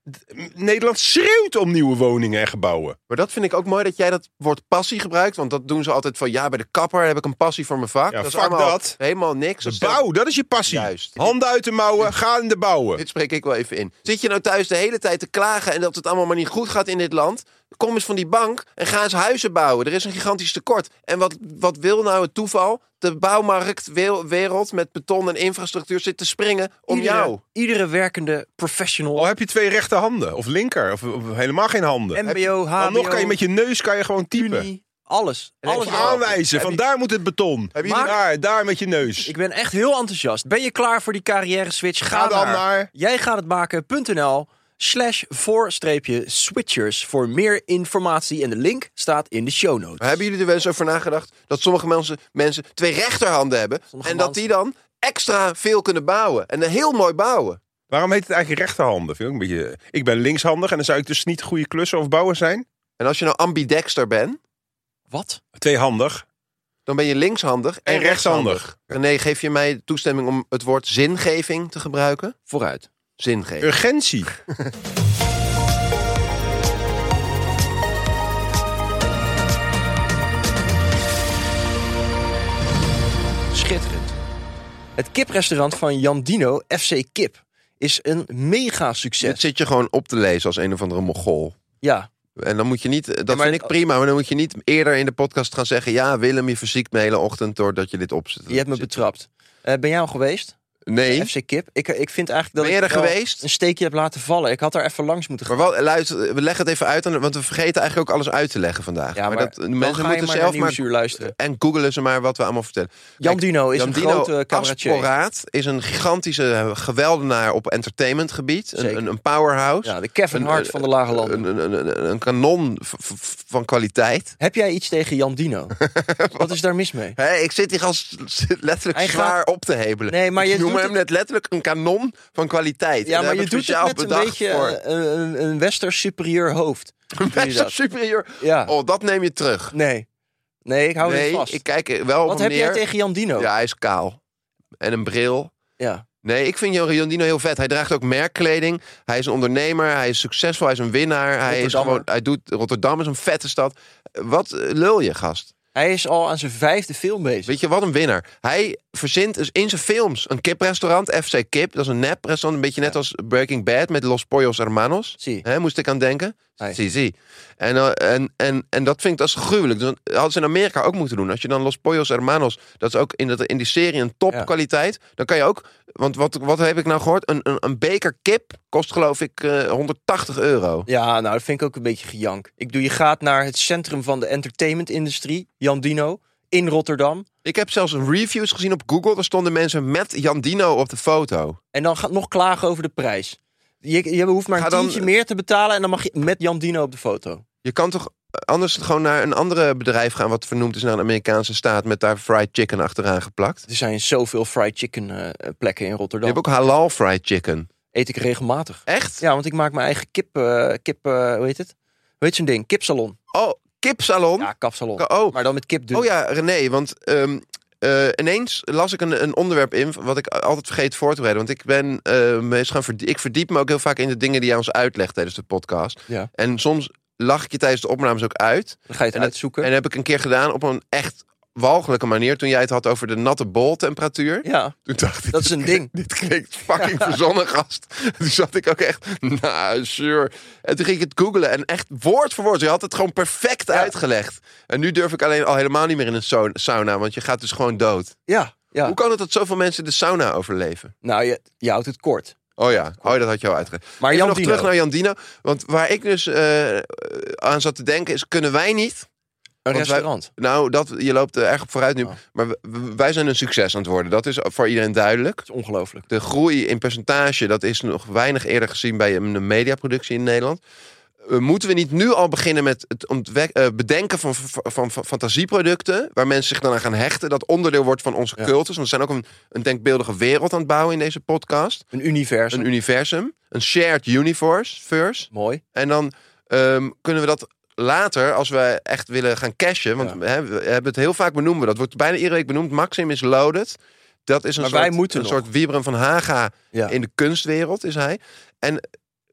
Nederland schreeuwt om nieuwe woningen en gebouwen. Maar dat vind ik ook mooi dat jij dat woord passie gebruikt. Want dat doen ze altijd van ja, bij de kapper heb ik een passie voor mijn vak. Ja, dat is fuck allemaal dat. helemaal niks. De Dat bouw, dat is je passie. Juist. Handen uit de mouwen, ga in de bouwen. Dit spreek ik wel even in. Zit je nou thuis de hele tijd te klagen en dat het allemaal maar niet goed gaat in dit land? Kom eens van die bank en ga eens huizen bouwen. Er is een gigantisch tekort. En wat, wat wil nou het toeval? De bouwmarktwereld met beton en infrastructuur zit te springen om Iedere- jou. Iedere werkende professional. Al heb je twee rechte handen, of linker, of, of helemaal geen handen. Heb je- MBO, HBO. dan nog kan je met je neus kan je gewoon typen. Unie, Alles. En Alles. heb Of je- aanwijzen, Heb van je- daar moet het beton. Heb je- daar, daar met je neus. Ik ben echt heel enthousiast. Ben je klaar voor die carrière switch? Ga, Ga dan naar naar- jij gaat het maken.nl slash voor streepje switchers voor meer informatie. En de link staat in de show notes. Maar hebben jullie er wel eens over nagedacht dat sommige mensen, mensen twee rechterhanden hebben Sommige en dat die dan extra veel kunnen bouwen en een heel mooi bouwen? Waarom heet het eigenlijk rechterhanden? Vind ik, ook een beetje... ik ben linkshandig en dan zou ik dus niet goede klussen of bouwer zijn. En als je nou ambidexter bent, Wat? Tweehandig. dan ben je linkshandig en, En rechtshandig. rechtshandig. René, geef je mij toestemming om het woord zingeving te gebruiken? Vooruit. Zingeving. Urgentie. Schitterend. Het kiprestaurant van Jan Dino, FC Kip, is een mega Dit succes. zit je gewoon op te lezen als een of andere mogol. Ja, En dan moet je niet, dat Ja, maar- vind ik prima, maar dan moet je niet eerder in de podcast gaan zeggen: Ja, Willem, je verziekt me hele ochtend doordat je dit opzet. je hebt me betrapt. Eh, ben jij al geweest? Nee, FC Kip? Ik, eh, ik vind eigenlijk dat ben je ik er wel geweest? een steekje heb laten vallen. Ik had er even langs moeten gaan. Maar wel, luister, we leggen het even uit, aan- want we vergeten eigenlijk ook alles uit te leggen vandaag. Ja, maar, dat, dan mensen ga je moeten maar zelf naar maar. Nieuwsuur luisteren. En googelen ze maar wat we allemaal vertellen. Jan Kijk, Dino is Jan een Dino grote cabaretier. Asporaat is een gigantische eh, geweldenaar op entertainmentgebied. Een, Zeker. een, een powerhouse. Ja, de Kevin Een- Hart een- van de Lage Landen. Een, een, een, een kanon v- v- van kwaliteit. Heb jij iets tegen Jan Dino? Wat is daar mis mee? Hé, ik zit hier als letterlijk Hij zwaar gaat- op te hebelen. Nee, maar ik je noem doet hem het- net letterlijk een kanon van Ja, kwaliteit. En daar maar heb je ik doet speciaal het met een bedacht beetje voor. eh, een, een, een westers superieur hoofd. Doe je Best wel dat? superieur. Ja. Oh, dat neem je terug. Nee. Nee, ik hou nee, het vast. ik kijk er wel op Wat hem heb jij neer. tegen Jan Dino? Ja, hij is kaal. En een bril. Ja. Nee, ik vind Jan Dino heel vet. Hij draagt ook merkkleding. Hij is een ondernemer. Hij is succesvol. Hij is een winnaar. Hij is Rotterdammer. gewoon. Hij doet. Rotterdam is een vette stad. Wat eh, lul je, gast? Hij is al aan zijn vijfde film bezig. Weet je wat een winnaar? Hij verzint dus in zijn films een kiprestaurant, FC Kip. Dat is een nep restaurant. Een beetje net als Breaking Bad met Los Pollos Hermanos. Zie. Hè, moest ik aan denken. Hey. Zie, zie. En, eh, en, en, en dat vind ik dat is gruwelijk. Dat hadden ze in Amerika ook moeten doen. Als je dan Los Pollos Hermanos, dat is ook in, dat, in die serie een topkwaliteit. Dan kan je ook, want wat, wat heb ik nou gehoord? Een, een, een beker kip kost geloof ik eh, 180 euro. Ja, nou, dat vind ik ook een beetje gejank. Ik doe, je gaat naar het centrum van de entertainmentindustrie, Jan Dino, in Rotterdam. Ik heb zelfs reviews gezien op Google. Daar stonden mensen met Jan Dino op de foto. En dan gaat nog klagen over de prijs. Je, je hoeft maar Ga een dan- tientje meer te betalen en dan mag je met Jan Dino op de foto. Je kan toch eh, anders gewoon naar een andere bedrijf gaan... wat vernoemd is naar een Amerikaanse staat... met daar fried chicken achteraan geplakt. Er zijn zoveel fried chicken eh, plekken in Je Rotterdam. hebt ook halal fried chicken. Eet ik regelmatig. Echt? Ja, want ik maak mijn eigen kip, eh, kip eh, hoe heet het? Hoe heet zo'n ding? Kipsalon. Oh, kipsalon? Ja, kapsalon. Oh. Maar dus- dan met kip oh ja, René, want ehm, eh, ineens las ik een, een onderwerp in... wat ik altijd vergeet voor te bereiden. Want ik ben eh, me eens gaan verdie- Ik verdiep me ook heel vaak in de dingen die jij ons uitlegt tijdens de podcast. Ja. En soms lach ik je tijdens de opnames ook uit. Dan ga je het En dat- uitzoeken. En heb ik een keer gedaan op een echt walgelijke manier... toen jij het had over de natte bol temperatuur. Ja, Toen dacht ik, dat is een ding. Dit klinkt fucking verzonnen, gast. Toen zat ik ook echt, nou, sure. En toen ging ik het googlen en echt woord voor woord. Je had het gewoon perfect uitgelegd. En nu durf ik alleen al helemaal niet meer in een sau- sauna, want je gaat dus gewoon dood. Ja, ja. Hoe kan het dat zoveel mensen de sauna overleven? Nou, je, je houdt het kort. Oh ja, oh, dat had je al uitgelegd. Maar Even Jan nog Dino. terug naar Jan Dino. Want waar ik dus eh, aan zat te denken is, kunnen wij niet... Een Want wij- restaurant. Nou, dat, je loopt er erg op vooruit nu. Oh. Maar w- w- wij zijn een succes aan het worden. Dat is voor iedereen duidelijk. Dat is ongelooflijk. De groei in percentage, dat is nog weinig eerder gezien bij een mediaproductie in Nederland. Eh, Moeten we niet nu al beginnen met het ontwek- eh, bedenken van, van, van, van fantasieproducten, waar mensen zich dan aan gaan hechten, dat onderdeel wordt van onze Ja. cultus? Want we zijn ook een, een denkbeeldige wereld aan het bouwen in deze podcast. Een universum. Een universum, een shared universe. First. Mooi. En dan ehm, kunnen we dat later, als we echt willen gaan cashen, want Ja. we hebben we hebben het heel vaak benoemd, dat wordt bijna iedere week benoemd, Maxim is loaded. Dat is een Maar wij soort, moeten een nog. soort Wiebren van Haga Ja. in de kunstwereld, is hij. En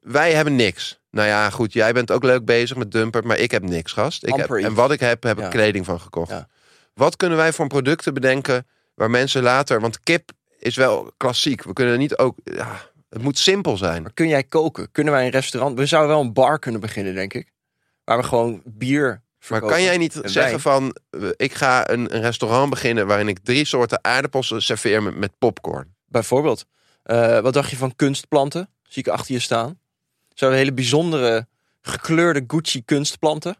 wij hebben niks. Nou ja, goed, jij bent ook leuk bezig met Dumpert, maar ik heb niks, gast. Ik heb, Amper iets. en wat ik heb, heb Ja. ik kleding van gekocht. Ja. Wat kunnen wij voor producten bedenken waar mensen later... Want kip is wel klassiek. We kunnen niet ook... Ja, het moet simpel zijn. Maar kun jij koken? Kunnen wij een restaurant? We zouden wel een bar kunnen beginnen, denk ik. Waar we gewoon bier Maar verkopen. kan jij niet En zeggen wijn. van, eh, ik ga een, een restaurant beginnen waarin ik drie soorten aardappels serveer met, met popcorn? Bijvoorbeeld. eh, wat dacht je van kunstplanten? Zie ik achter je staan. Zouden we hele bijzondere gekleurde Gucci kunstplanten?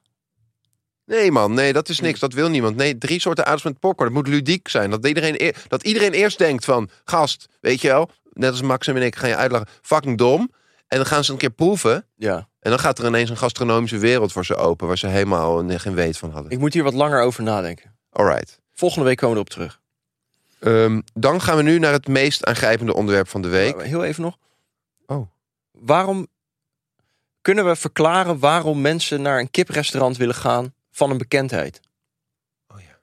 Nee man, nee, dat is niks. Dat wil niemand. Nee, drie soorten aardappels met popcorn. Het moet ludiek zijn. Dat iedereen, eer- dat iedereen eerst denkt van, gast, weet je wel, net als Maxim en ik gaan je uitlachen, fucking dom. En dan gaan ze een keer proeven. Ja. En dan gaat er ineens een gastronomische wereld voor ze open, waar ze helemaal ne- geen weet van hadden. Ik moet hier wat langer over nadenken. Alright. Volgende week komen we erop terug. Ehm, dan gaan we nu naar het meest aangrijpende onderwerp van de week. Maar Heel even nog. Oh. Waarom kunnen we verklaren waarom mensen naar een kiprestaurant willen gaan van een bekendheid? Oh ja.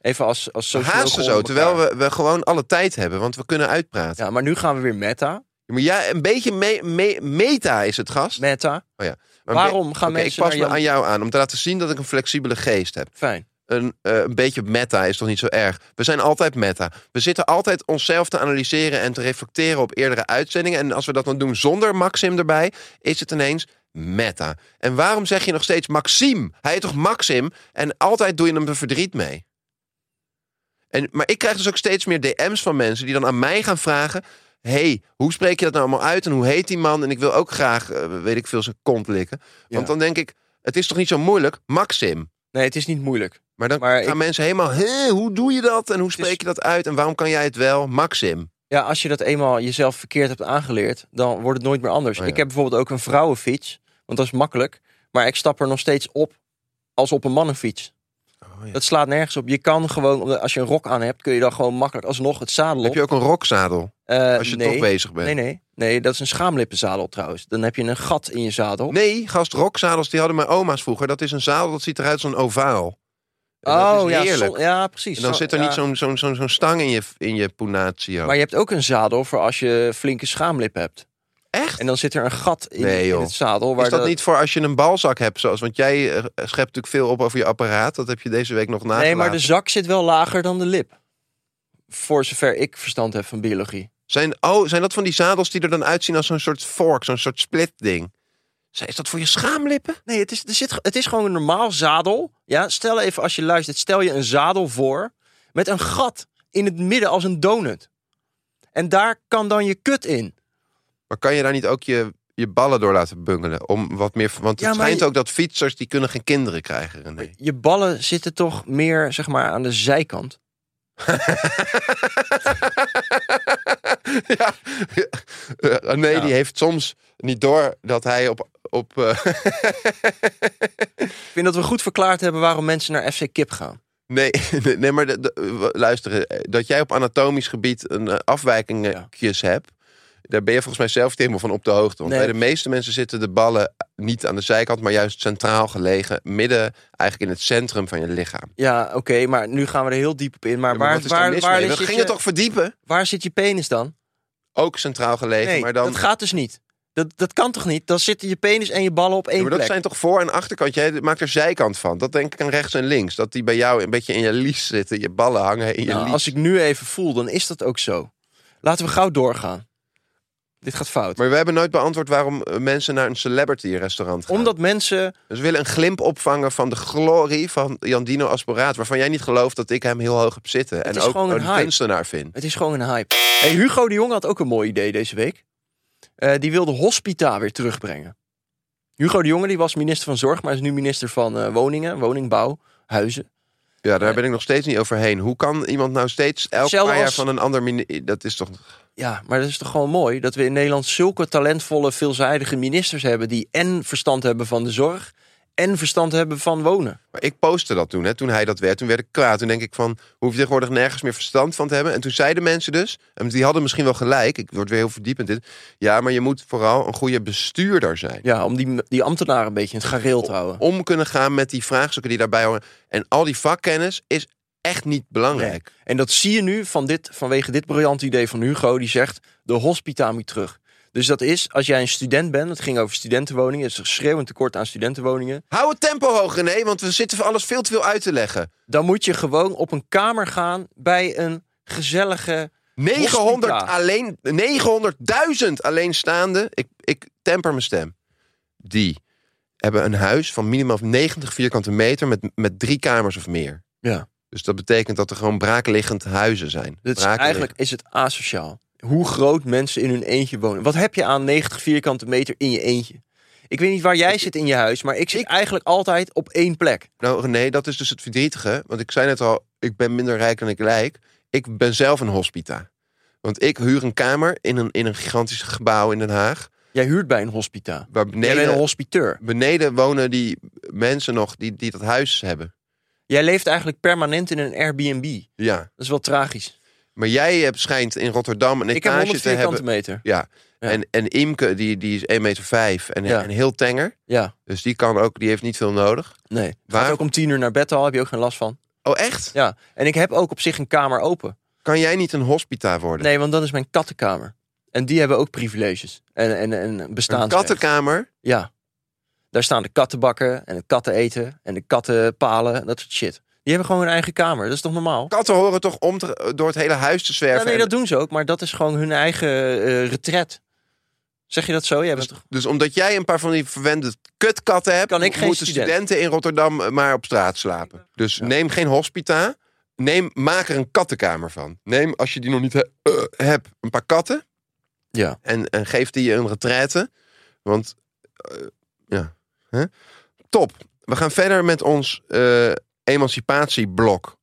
Even als, als We socioloog haasten zo, onder terwijl elkaar. we, we gewoon alle tijd hebben, want we kunnen uitpraten. Ja, maar nu gaan we weer meta. Ja, maar ja, een beetje me- me- meta is het, gast. Meta. Maar be- waarom gaan Oké, ik mensen pas naar me Jan... aan jou aan om te laten zien dat ik een flexibele geest heb. Fijn. Een, eh, een beetje meta is toch niet zo erg? We zijn altijd meta. We zitten altijd onszelf te analyseren en te reflecteren op eerdere uitzendingen. En als we dat dan doen zonder Maxim erbij, is het ineens meta. En waarom zeg je nog steeds Maxim? Hij heet toch Maxim? En altijd doe je hem er verdriet mee. En, maar ik krijg dus ook steeds meer DM's van mensen die dan aan mij gaan vragen... hey, hoe spreek je dat nou allemaal uit en hoe heet die man? En ik wil ook graag, eh, weet ik veel, zijn kont likken. Want Ja. dan denk ik, het is toch niet zo moeilijk? Maxim. Nee, het is niet moeilijk. Maar dan Maar gaan ik- mensen helemaal, "Hè, hoe doe je dat? En hoe is- spreek je dat uit? En waarom kan jij het wel? Maxim. Ja, als je dat eenmaal jezelf verkeerd hebt aangeleerd, dan wordt het nooit meer anders. Oh ja. Ik heb bijvoorbeeld ook een vrouwenfiets, want dat is makkelijk. Maar ik stap er nog steeds op als op een mannenfiets. Oh Dat slaat nergens op. Je kan gewoon, als je een rok aan hebt, kun je dan gewoon makkelijk alsnog het zadel Heb op. je ook een rokzadel? Eh, Als je nee. toch bezig bent. Nee, nee. Nee, dat is een schaamlippenzadel trouwens. Dan heb je een gat in je zadel. Nee, gast, rokzadels die hadden mijn oma's vroeger. Dat is een zadel dat ziet eruit als een ovaal. En dat oh is ja, heerlijk. zon- ja, precies. en dan Zo- zit er ja. niet zo'n zo'n zo'n zo'n stang in je, in je punatio. Maar je hebt ook een zadel voor als je flinke schaamlip hebt. Echt? En dan zit er een gat in, Nee, in joh. het zadel. Waar Is dat niet voor als je een balzak hebt? Zoals, want jij eh, schept natuurlijk veel op over je apparaat. Dat heb je deze week nog nagelaten. Nee, maar dus- de zak zit wel lager dan de lip. Voor zover ik verstand heb van biologie. zijn, oh, zijn dat van die zadels die er dan uitzien als zo'n soort vork? Zo'n soort split ding? Is dat voor je schaamlippen? Nee, het is, er zit, het is gewoon een normaal zadel. Ja, stel even als je luistert, stel je een zadel voor met een gat in het midden als een donut. En daar kan dan je kut in. Maar kan je daar niet ook je, je ballen door laten bungelen? Om wat meer, want het Ja, maar schijnt je- ook dat fietsers die kunnen geen kinderen krijgen. René. Je ballen zitten toch meer zeg maar aan de zijkant. ja. Eh, René Ja. die heeft soms niet door dat hij op. op eh, Ik vind dat we goed verklaard hebben waarom mensen naar FC Kip gaan. nee, nee, nee, maar de- de- w- luister, eh, dat jij op anatomisch gebied een eh, afwijkingjes hebt. Daar ben je volgens mij zelf niet helemaal van op de hoogte. Want Nee. bij de meeste mensen zitten de ballen niet aan de zijkant, maar juist centraal gelegen. Midden, eigenlijk in het centrum van je lichaam. Ja, oké, maar nu gaan we er heel diep op in. Maar, Ja, maar waar, wat is daar waar, mis waar, mee? We zit gingen je, toch verdiepen? waar zit je penis dan? Ook centraal gelegen, Nee, maar dan... dat gaat dus niet. Dat, dat kan toch niet? Dan zitten je penis en je ballen op één Ja, maar dat plek. zijn toch voor- en achterkant? Jij maakt er zijkant van. Dat denk ik aan rechts en links. Dat die bij jou een beetje in je lies zitten. Je ballen hangen in je Nou, lies. als ik nu even voel, dan is dat ook zo. Laten we gauw doorgaan. Dit gaat fout. Maar we hebben nooit beantwoord waarom eh, mensen naar een celebrity restaurant gaan. Omdat mensen... Dus we willen een glimp opvangen van de glorie van Jandino Asporaat. Waarvan jij niet gelooft dat ik hem heel hoog heb zitten. en is ook gewoon een hype. kunstenaar vind. Het is gewoon een hype. Hey, Hugo de Jong had ook een mooi idee deze week. Eh, die wilde hospita weer terugbrengen. Hugo de Jonge die was minister van Zorg, maar is nu minister van eh, Woningen, Woningbouw, Huizen. Ja, daar ben ik nog steeds niet overheen. Hoe kan iemand nou steeds elk Hetzelfde paar jaar als- van een ander... mini- Dat is toch... Ja, maar dat is toch gewoon mooi dat we in Nederland zulke talentvolle, veelzijdige ministers hebben die en verstand hebben van de zorg en verstand hebben van wonen. Maar ik postte dat toen, hè. Toen hij dat werd, toen werd ik kwaad. Toen denk ik van, hoef je tegenwoordig nergens meer verstand van te hebben. En toen zeiden mensen dus, en die hadden misschien wel gelijk... Ik word weer heel verdiepend dit. Ja, maar je moet vooral een goede bestuurder zijn. Ja, om die, die ambtenaren een beetje in het gareel te houden. Om kunnen gaan met die vraagstukken die daarbij horen. En al die vakkennis is echt niet belangrijk. En dat zie je nu van dit, vanwege dit briljante idee van Hugo, die zegt de hospita moet terug. Dus dat is, als jij een student bent, het ging over studentenwoningen, er is een schreeuwend tekort aan studentenwoningen. Hou het tempo hoog, René, want we zitten voor alles veel te veel uit te leggen. Dan moet je gewoon op een kamer gaan bij een gezellige. 900 Hospita. alleen, 900.000 alleenstaanden, ik, ik temper mijn stem. Die hebben een huis van minimaal 90 vierkante meter met, met drie kamers of meer. Ja. Dus dat betekent dat er gewoon braakliggend huizen zijn. Dit is, Braakliggend. eigenlijk is het asociaal. Hoe groot mensen in hun eentje wonen. Wat heb je aan 90 vierkante meter in je eentje? Ik weet niet waar jij zit in je huis, maar ik zit eigenlijk altijd op één plek. Nou René, dat is dus het verdrietige. Want ik zei net al, ik ben minder rijk dan ik lijk. Ik ben zelf een hospita. Want ik huur een kamer in een, in een gigantisch gebouw in Den Haag. Jij huurt bij een hospita. Waar Jij bent beneden, een hospiteur. beneden wonen die mensen nog die, die dat huis hebben. Jij leeft eigenlijk permanent in een Airbnb. Ja. Dat is wel tragisch. Maar jij hebt, schijnt in Rotterdam een Ik heb etage 100 te vierkante hebben. meter. Ja. Ja. En, en Imke, die, die is 1,5 meter en, Ja. en heel tenger. Ja, Dus die, kan ook, die heeft niet veel nodig. nee. Waar? Waar- Gaat ook om tien uur naar bed al, heb je ook geen last van. Oh echt? Ja, en ik heb ook op zich een kamer open. Kan jij niet een hospita worden? Nee, want dat is mijn kattenkamer. En die hebben ook privileges en, en, en een bestaansrecht. kattenkamer? Ja. Daar staan de kattenbakken en het katteneten en de kattenpalen en dat soort shit. Die hebben gewoon hun eigen kamer. Dat is toch normaal? Katten horen toch om te- door het hele huis te zwerven? Ja, nee, en- dat doen ze ook, maar dat is gewoon hun eigen eh retret. Zeg je dat zo? Jij bent toch... Dus omdat jij een paar van die verwende kutkatten hebt, Kan ik geen moeten student. studenten in Rotterdam eh, maar op straat slapen. Dus neem geen hospita. Neem, maak er een kattenkamer van. Neem, als je die nog niet he- eh, hebt, een paar katten. Ja. En, en geef die een retraite. Want, eh, ja. Hè? Top. We gaan verder met ons eh, emancipatieblok.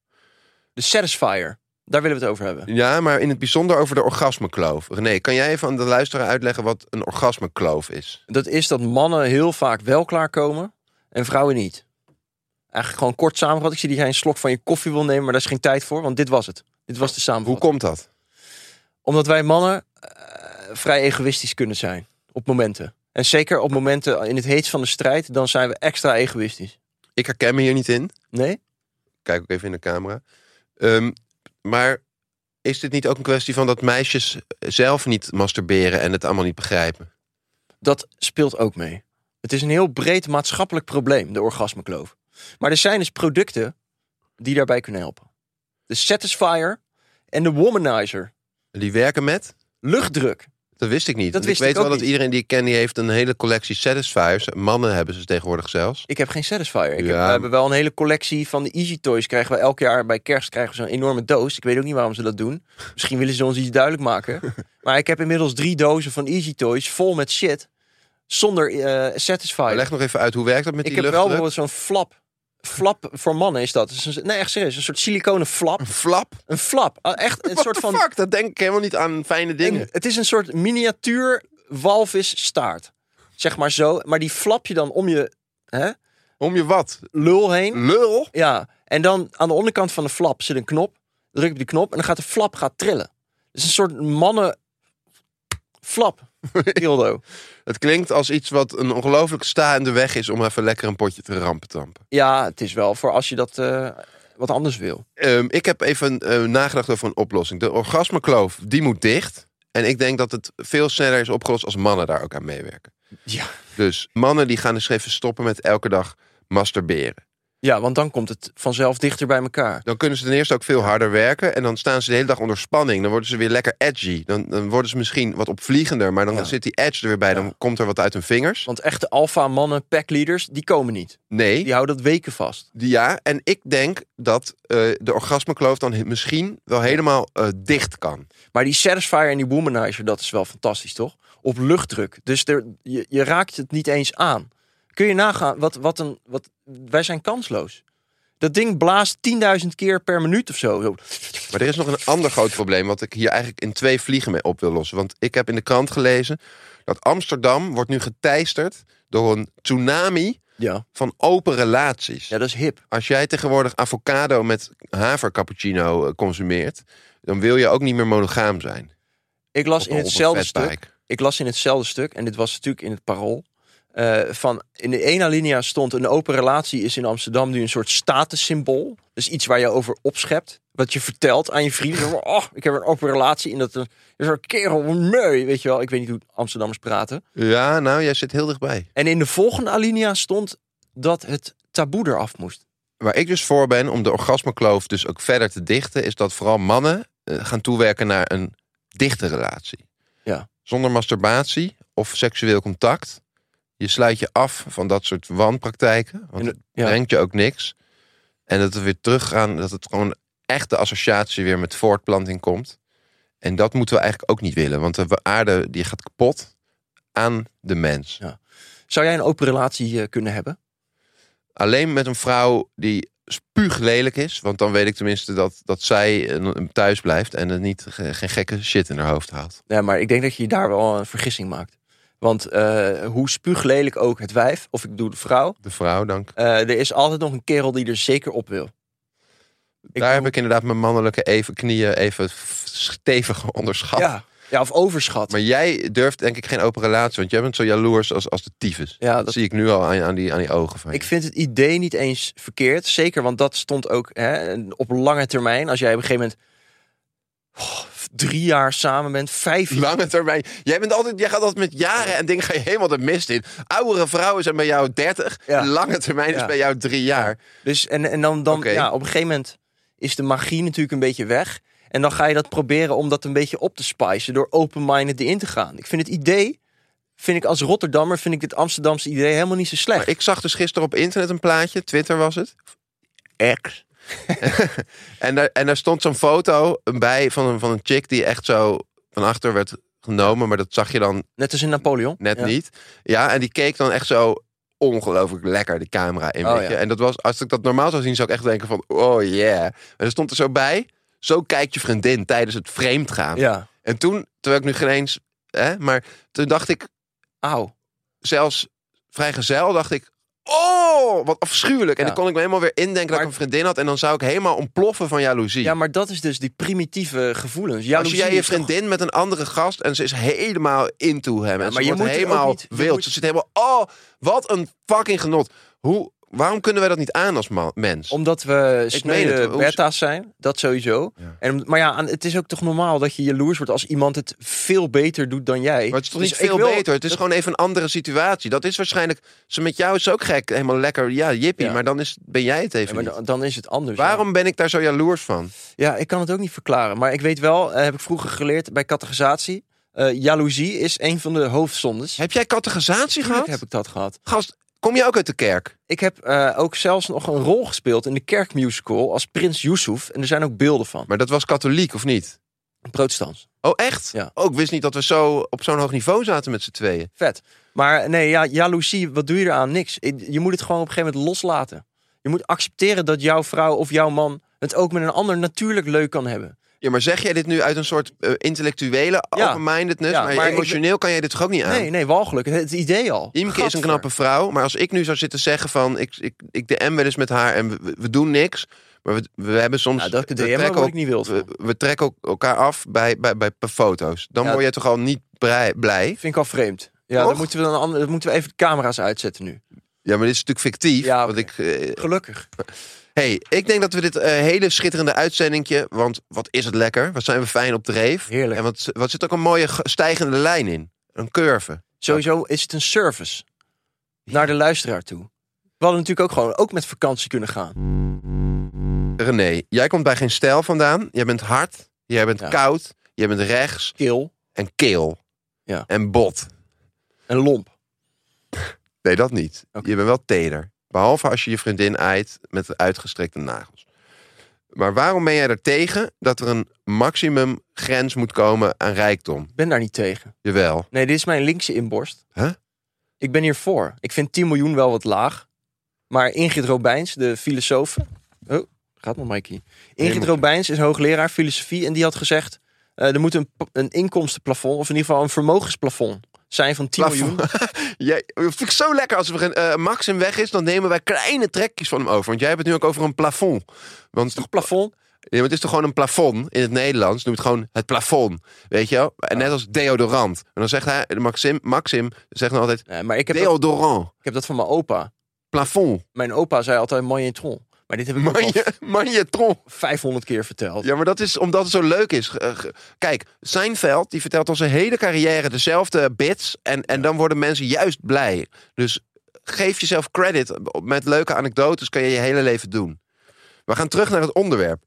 De Satisfier. Daar willen we het over hebben. Ja, maar in het bijzonder over de orgasmekloof. René, kan jij even aan de luisteraar uitleggen wat een orgasmekloof is? Dat is dat mannen heel vaak wel klaarkomen en vrouwen niet. Eigenlijk gewoon kort samengevat. Ik zie dat jij een slok van je koffie wil nemen, maar daar is geen tijd voor, want dit was het. Dit was de Hoe samenvatting. komt dat? Omdat wij mannen eh, vrij egoïstisch kunnen zijn op momenten. En zeker op momenten in het heetst van de strijd, dan zijn we extra egoïstisch. Ik herken me hier niet in. Nee? Kijk ook even in de camera. Ehm, maar is dit niet ook een kwestie van dat meisjes zelf niet masturberen en het allemaal niet begrijpen? Dat speelt ook mee. Het is een heel breed maatschappelijk probleem, de orgasmekloof. Maar er zijn dus producten die daarbij kunnen helpen. De Satisfier en de Womanizer. Die werken met? Luchtdruk. Dat wist ik Dat niet. Want wist ik weet ik ook wel dat niet. iedereen die ik ken, die heeft een hele collectie satisfiers. Mannen hebben ze tegenwoordig zelfs. Ik heb geen Satisfier. Ik heb, Ja, we maar- hebben wel een hele collectie van de Easy Toys. Krijgen we elk jaar bij kerst krijgen we zo'n enorme doos. Ik weet ook niet waarom ze dat doen. Misschien willen ze ons iets duidelijk maken. maar ik heb inmiddels drie dozen van Easy Toys vol met shit. Zonder eh Maar Satisfier. leg nog even uit, hoe werkt dat met ik die heb wel luchtdruk? bijvoorbeeld zo'n flap. Flap voor mannen is dat. Het is een- nee, echt serieus. Een soort siliconen flap. Een flap? Een flap. Ah, Echt een What soort the van... fuck? Dat denk ik helemaal niet aan fijne dingen. En het is een soort miniatuur walvisstaart. Zeg maar zo. Maar die flap je dan om je hè, Om je wat? lul heen. Lul? Ja, en dan aan de onderkant van de flap zit een knop. Druk op die knop en dan gaat de flap gaat trillen. Dus een soort mannen flap dildo. Het klinkt als iets wat een ongelooflijk staande weg is om even lekker een potje te rampen tampen. Ja, het is wel voor als je dat eh, wat anders wil. Ehm, ik heb even eh, nagedacht over een oplossing. De orgasmekloof, die moet dicht. En ik denk dat het veel sneller is opgelost als mannen daar ook aan meewerken. Ja. Dus mannen die gaan dus even stoppen met elke dag masturberen. Ja, want dan komt het vanzelf dichter bij elkaar. Dan kunnen ze ten eerste ook veel harder werken. En dan staan ze de hele dag onder spanning. Dan worden ze weer lekker edgy. Dan, dan worden ze misschien wat opvliegender. Maar dan Ja. zit die edge er weer bij. Dan komt er wat uit hun vingers. Want echte alfa mannen, packleaders, die komen niet. Nee, Die houden dat weken vast. die- ja. En ik denk dat eh, de orgasmekloof dan he- misschien wel helemaal eh, dicht kan. Maar die Satisfier en die Womanizer, dat is wel fantastisch, toch? op luchtdruk. Dus er, je, je raakt het niet eens aan. Kun je nagaan, wat, wat een, wat, wij zijn kansloos. Dat ding blaast 10.000 keer per minuut of zo. Zo. Maar er is nog een ander groot probleem wat ik hier eigenlijk in twee vliegen mee op wil lossen. Want ik heb in de krant gelezen dat Amsterdam wordt nu geteisterd door een tsunami Ja. van open relaties. ja, dat is hip. Als jij tegenwoordig avocado met havercappuccino eh, consumeert, dan wil je ook niet meer monogaam zijn. Ik las Op- in op een hetzelfde stuk. fatbike. ik las in hetzelfde stuk, en dit was natuurlijk in het parool. eh, van in de ene alinea stond een open relatie is in Amsterdam nu een soort statussymbool. Dus iets waar je over opschept. Wat je vertelt aan je vrienden. Zo van, Oh, ik heb een open relatie. En dat eh, is een kerel, wat mooi. Weet je wel, ik weet niet hoe Amsterdammers praten. Ja, nou, jij zit heel dichtbij. En in de volgende alinea stond dat het taboe eraf moest. Waar ik dus voor ben om de orgasmekloof dus ook verder te dichten, is dat vooral mannen eh, gaan toewerken naar een dichte relatie. Ja. Zonder masturbatie of seksueel contact. Je sluit je af van dat soort wanpraktijken, want In de- het ja. brengt je ook niks. En dat we weer teruggaan, dat het gewoon echt de associatie weer met voortplanting komt. En dat moeten we eigenlijk ook niet willen, want de aarde die gaat kapot aan de mens. Zou jij een open relatie eh, kunnen hebben? alleen met een vrouw die spuuglelijk is. Want dan weet ik tenminste dat, dat zij een- thuis blijft en er niet, ge- geen gekke shit in haar hoofd haalt. Nee, maar ik denk dat je daar wel een vergissing maakt. Want eh, hoe spuuglelijk ook het wijf, of ik bedoel de vrouw, De vrouw, dank. Eh, er is altijd nog een kerel die er zeker op wil. Ik Daar heb bedoel- ik inderdaad mijn mannelijke even, knieën even f- stevig onderschat. ja. ja, of overschat. Ah. Maar jij durft denk ik geen open relatie, want jij bent zo jaloers als, als de tyfus. Ja, dat, dat- zie ik nu al aan, je- aan, die, aan die ogen van je. Ik vind het idee niet eens verkeerd. Zeker, want dat stond ook hè, op lange termijn. Als jij op een gegeven moment oh, drie jaar samen bent, vijf jaar. Lange termijn. Jij, bent altijd, jij gaat altijd met jaren en dingen ga je helemaal de mist in. Oudere vrouwen zijn bij jou 30. Ja. Lange termijn is Ja. bij jou drie jaar. Dus, en, en dan, dan Oké. ja, op een gegeven moment is de magie natuurlijk een beetje weg. En dan ga je dat proberen om dat een beetje op te spicen door open-minded erin te gaan. Ik vind het idee, vind ik als Rotterdammer, vind ik dit Amsterdamse idee helemaal niet zo slecht. Maar ik zag dus gisteren op internet een plaatje, Twitter was het. X. en, daar, en daar stond zo'n foto bij van een, van een chick die echt zo van achter werd genomen, maar dat zag je dan Net als in Napoleon. net Ja. niet. Ja, en die keek dan echt zo ongelooflijk lekker de camera in. Oh, weet je. ja. En dat was, als ik dat normaal zou zien, zou ik echt denken van, oh yeah. En er stond er zo bij, zo kijkt je vriendin tijdens het vreemdgaan. Ja, En toen, terwijl ik nu geen eens, hè, maar toen dacht ik, auw. zelfs vrijgezel dacht ik... Oh, wat afschuwelijk. En Ja. dan kon ik me helemaal weer indenken dat ik Maar- een vriendin had. En dan zou ik helemaal ontploffen van jaloezie. Ja, maar dat is dus die primitieve gevoelens. Jaloezie Als jij je is toch- vriendin met een andere gast... en ze is helemaal into hem. en maar ze je wordt moet er ook helemaal niet- je wild. moet- Ze zit helemaal... Oh, wat een fucking genot. Hoe, waarom kunnen wij dat niet aan als man- mens? Omdat we meen snede het. Hoe- beta's zijn, dat sowieso. Ja. En, maar ja, aan- het is ook toch normaal dat je jaloers wordt als iemand het veel beter doet dan jij. Maar het is toch Dus niet ik veel wil- beter? Het is gewoon even een andere situatie. Dat is waarschijnlijk... Ze met jou is ook gek. Helemaal lekker. Ja, jippie. Ja. Maar dan is, ben jij het Ja, even maar niet. dan, dan is het anders. Waarom ben ik daar zo jaloers van? Ja, ik kan het ook niet verklaren. Maar ik weet wel, eh, heb ik vroeger geleerd bij categorisatie. eh, jaloezie is een van de hoofdzondes. Heb jij categorisatie Tuurlijk gehad? heb ik dat gehad. Gast, kom je ook uit de kerk? Ik heb eh, ook zelfs nog een rol gespeeld in de kerkmusical als prins Yusuf. En er zijn ook beelden van. Maar dat was katholiek, of niet? Protestants. Oh, echt? Ja. Oh, ik wist niet dat we zo op zo'n hoog niveau zaten met z'n tweeën. Vet. Maar nee, ja, jaloezie, wat doe je eraan? Niks. Ik- Je moet het gewoon op een gegeven moment loslaten. Je moet accepteren dat jouw vrouw of jouw man het ook met een ander natuurlijk leuk kan hebben. Ja, maar zeg jij dit nu uit een soort eh, intellectuele Ja. open-mindedness? Ja, maar, maar ik- emotioneel kan jij dit toch ook niet aan? Nee, nee, walgelijk. Het, het idee al. Imke is een Gadver. knappe vrouw, maar als ik nu zou zitten zeggen van... ik, ik, ik DM wel eens met haar en we, we- we doen niks... maar we, we hebben soms... Nou, dat we DM word trekken ik ook- niet wild We, van. we trekken ook elkaar af bij, bij, bij, bij foto's. Dan Ja. word je toch al niet brei- blij? Vind ik al vreemd. Ja, Toch? dan moeten, we dan, een ander- dan moeten we even de camera's uitzetten nu. Ja, maar dit is natuurlijk fictief. Ja, want ik, eh, Gelukkig. Hey, ik denk dat we dit eh, hele schitterende uitzendingje, want wat is het lekker? Wat zijn we fijn op dreef? Heerlijk. En wat, wat zit ook een mooie ge- stijgende lijn in? Een curve. Sowieso is het een service naar de luisteraar toe. We hadden natuurlijk ook gewoon ook met vakantie kunnen gaan. René, jij komt bij geen stijl vandaan. Jij bent hard, jij bent Ja. koud, jij bent rechts Kil en keel. Ja. En bot. en lomp. Nee, dat niet. Oké. Je bent wel teder. Behalve als je je vriendin aait met de uitgestrekte nagels. Maar waarom ben jij er tegen dat er een maximum grens moet komen aan rijkdom? Ik ben daar niet tegen. Jawel. Nee, dit is mijn linkse inborst. Huh? Ik ben hiervoor. Ik vind 10 miljoen wel wat laag. Maar Ingrid Robijns, de filosoof... Oh, gaat maar Mikey. Ingrid maar- Robijns is hoogleraar filosofie en die had gezegd... eh, er moet een, p- een inkomstenplafond, of in ieder geval een vermogensplafond zijn van 10 miljoen. Jij, vind ik zo lekker als we, eh Max hem weg is, dan nemen wij kleine trekjes van hem over. Want jij hebt het nu ook over een plafond. Want Toch plafond? Ja, maar het is toch gewoon een plafond in het Nederlands? Noem het gewoon het plafond. Weet je wel? En net als deodorant. En dan zegt hij, Maxim, Maxim zegt dan altijd: Nee, maar ik heb, dat, deodorant, ik heb dat van mijn opa. plafond. Mijn opa zei altijd manjetron. Maar dit heb ik ook al Manje, manjetron. 500 keer verteld. Ja, maar dat is omdat het zo leuk is. Ge- ge- Kijk, Seinfeld die vertelt al zijn hele carrière dezelfde bits. En, en dan worden mensen juist blij. Dus geef jezelf credit. Met leuke anekdotes kan je je hele leven doen. We gaan terug naar het onderwerp.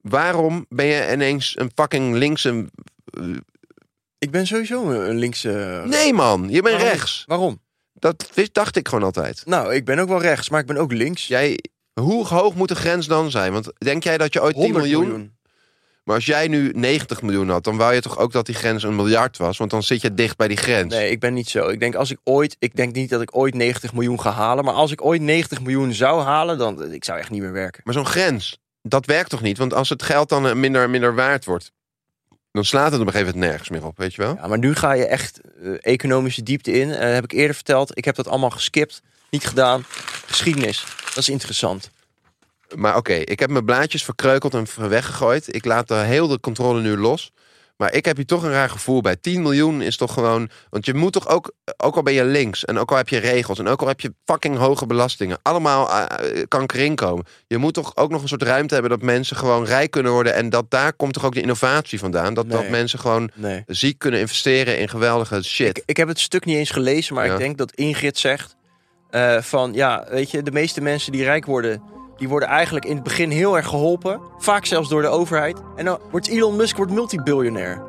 Waarom ben je ineens een fucking linkse... Ik ben sowieso een een linkse... Nee man, eh, je bent Waarom? rechts. Waarom? Dat wist- dacht ik gewoon altijd. Nou, ik ben ook wel rechts, maar ik ben ook links. Jij, hoe hoog moet de grens dan zijn? Want denk jij dat je ooit 10 miljoen, Maar als jij nu 90 miljoen had, dan wou je toch ook dat die grens een miljard was? Want dan zit je dicht bij die grens. Nee, ik ben niet zo. Ik denk als ik ooit, ik denk niet dat ik ooit 90 miljoen ga halen, maar als ik ooit 90 miljoen zou halen, dan eh, ik zou echt niet meer werken. Maar zo'n grens, dat werkt toch niet? Want als het geld dan eh, minder en minder waard wordt, dan slaat het op een gegeven moment nergens meer op, weet je wel? Ja, maar nu ga je echt eh, economische diepte in. Eh, heb ik eerder verteld. Ik heb dat allemaal geskipt, niet gedaan. Geschiedenis, dat is interessant. Maar oké, ik heb mijn blaadjes verkreukeld en ver- weggegooid. Ik laat de heel de controle nu los. Maar ik heb hier toch een raar gevoel bij. 10 miljoen is toch gewoon. Want je moet toch ook. eh, Ook al ben je links. En ook al heb je regels. En ook al heb je fucking hoge belastingen. Allemaal eh, eh, kan ik erin komen. Je moet toch ook nog een soort ruimte hebben dat mensen gewoon rijk kunnen worden. En dat daar komt toch ook de innovatie vandaan. Dat, dat Nee. mensen gewoon Nee. ziek kunnen investeren in geweldige shit. Ik, ik heb het stuk niet eens gelezen, maar Ja. ik denk dat Ingrid zegt eh, van ja, weet je, de meeste mensen die rijk worden, die worden eigenlijk in het begin heel erg geholpen, vaak zelfs door de overheid. En dan wordt Elon Musk wordt multibiljonair.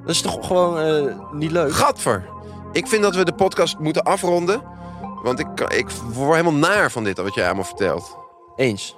Dat is toch gewoon eh, niet leuk. Gadver. Ik vind dat we de podcast moeten afronden. Want ik, kan- ik word helemaal naar van dit, wat jij allemaal vertelt. Eens.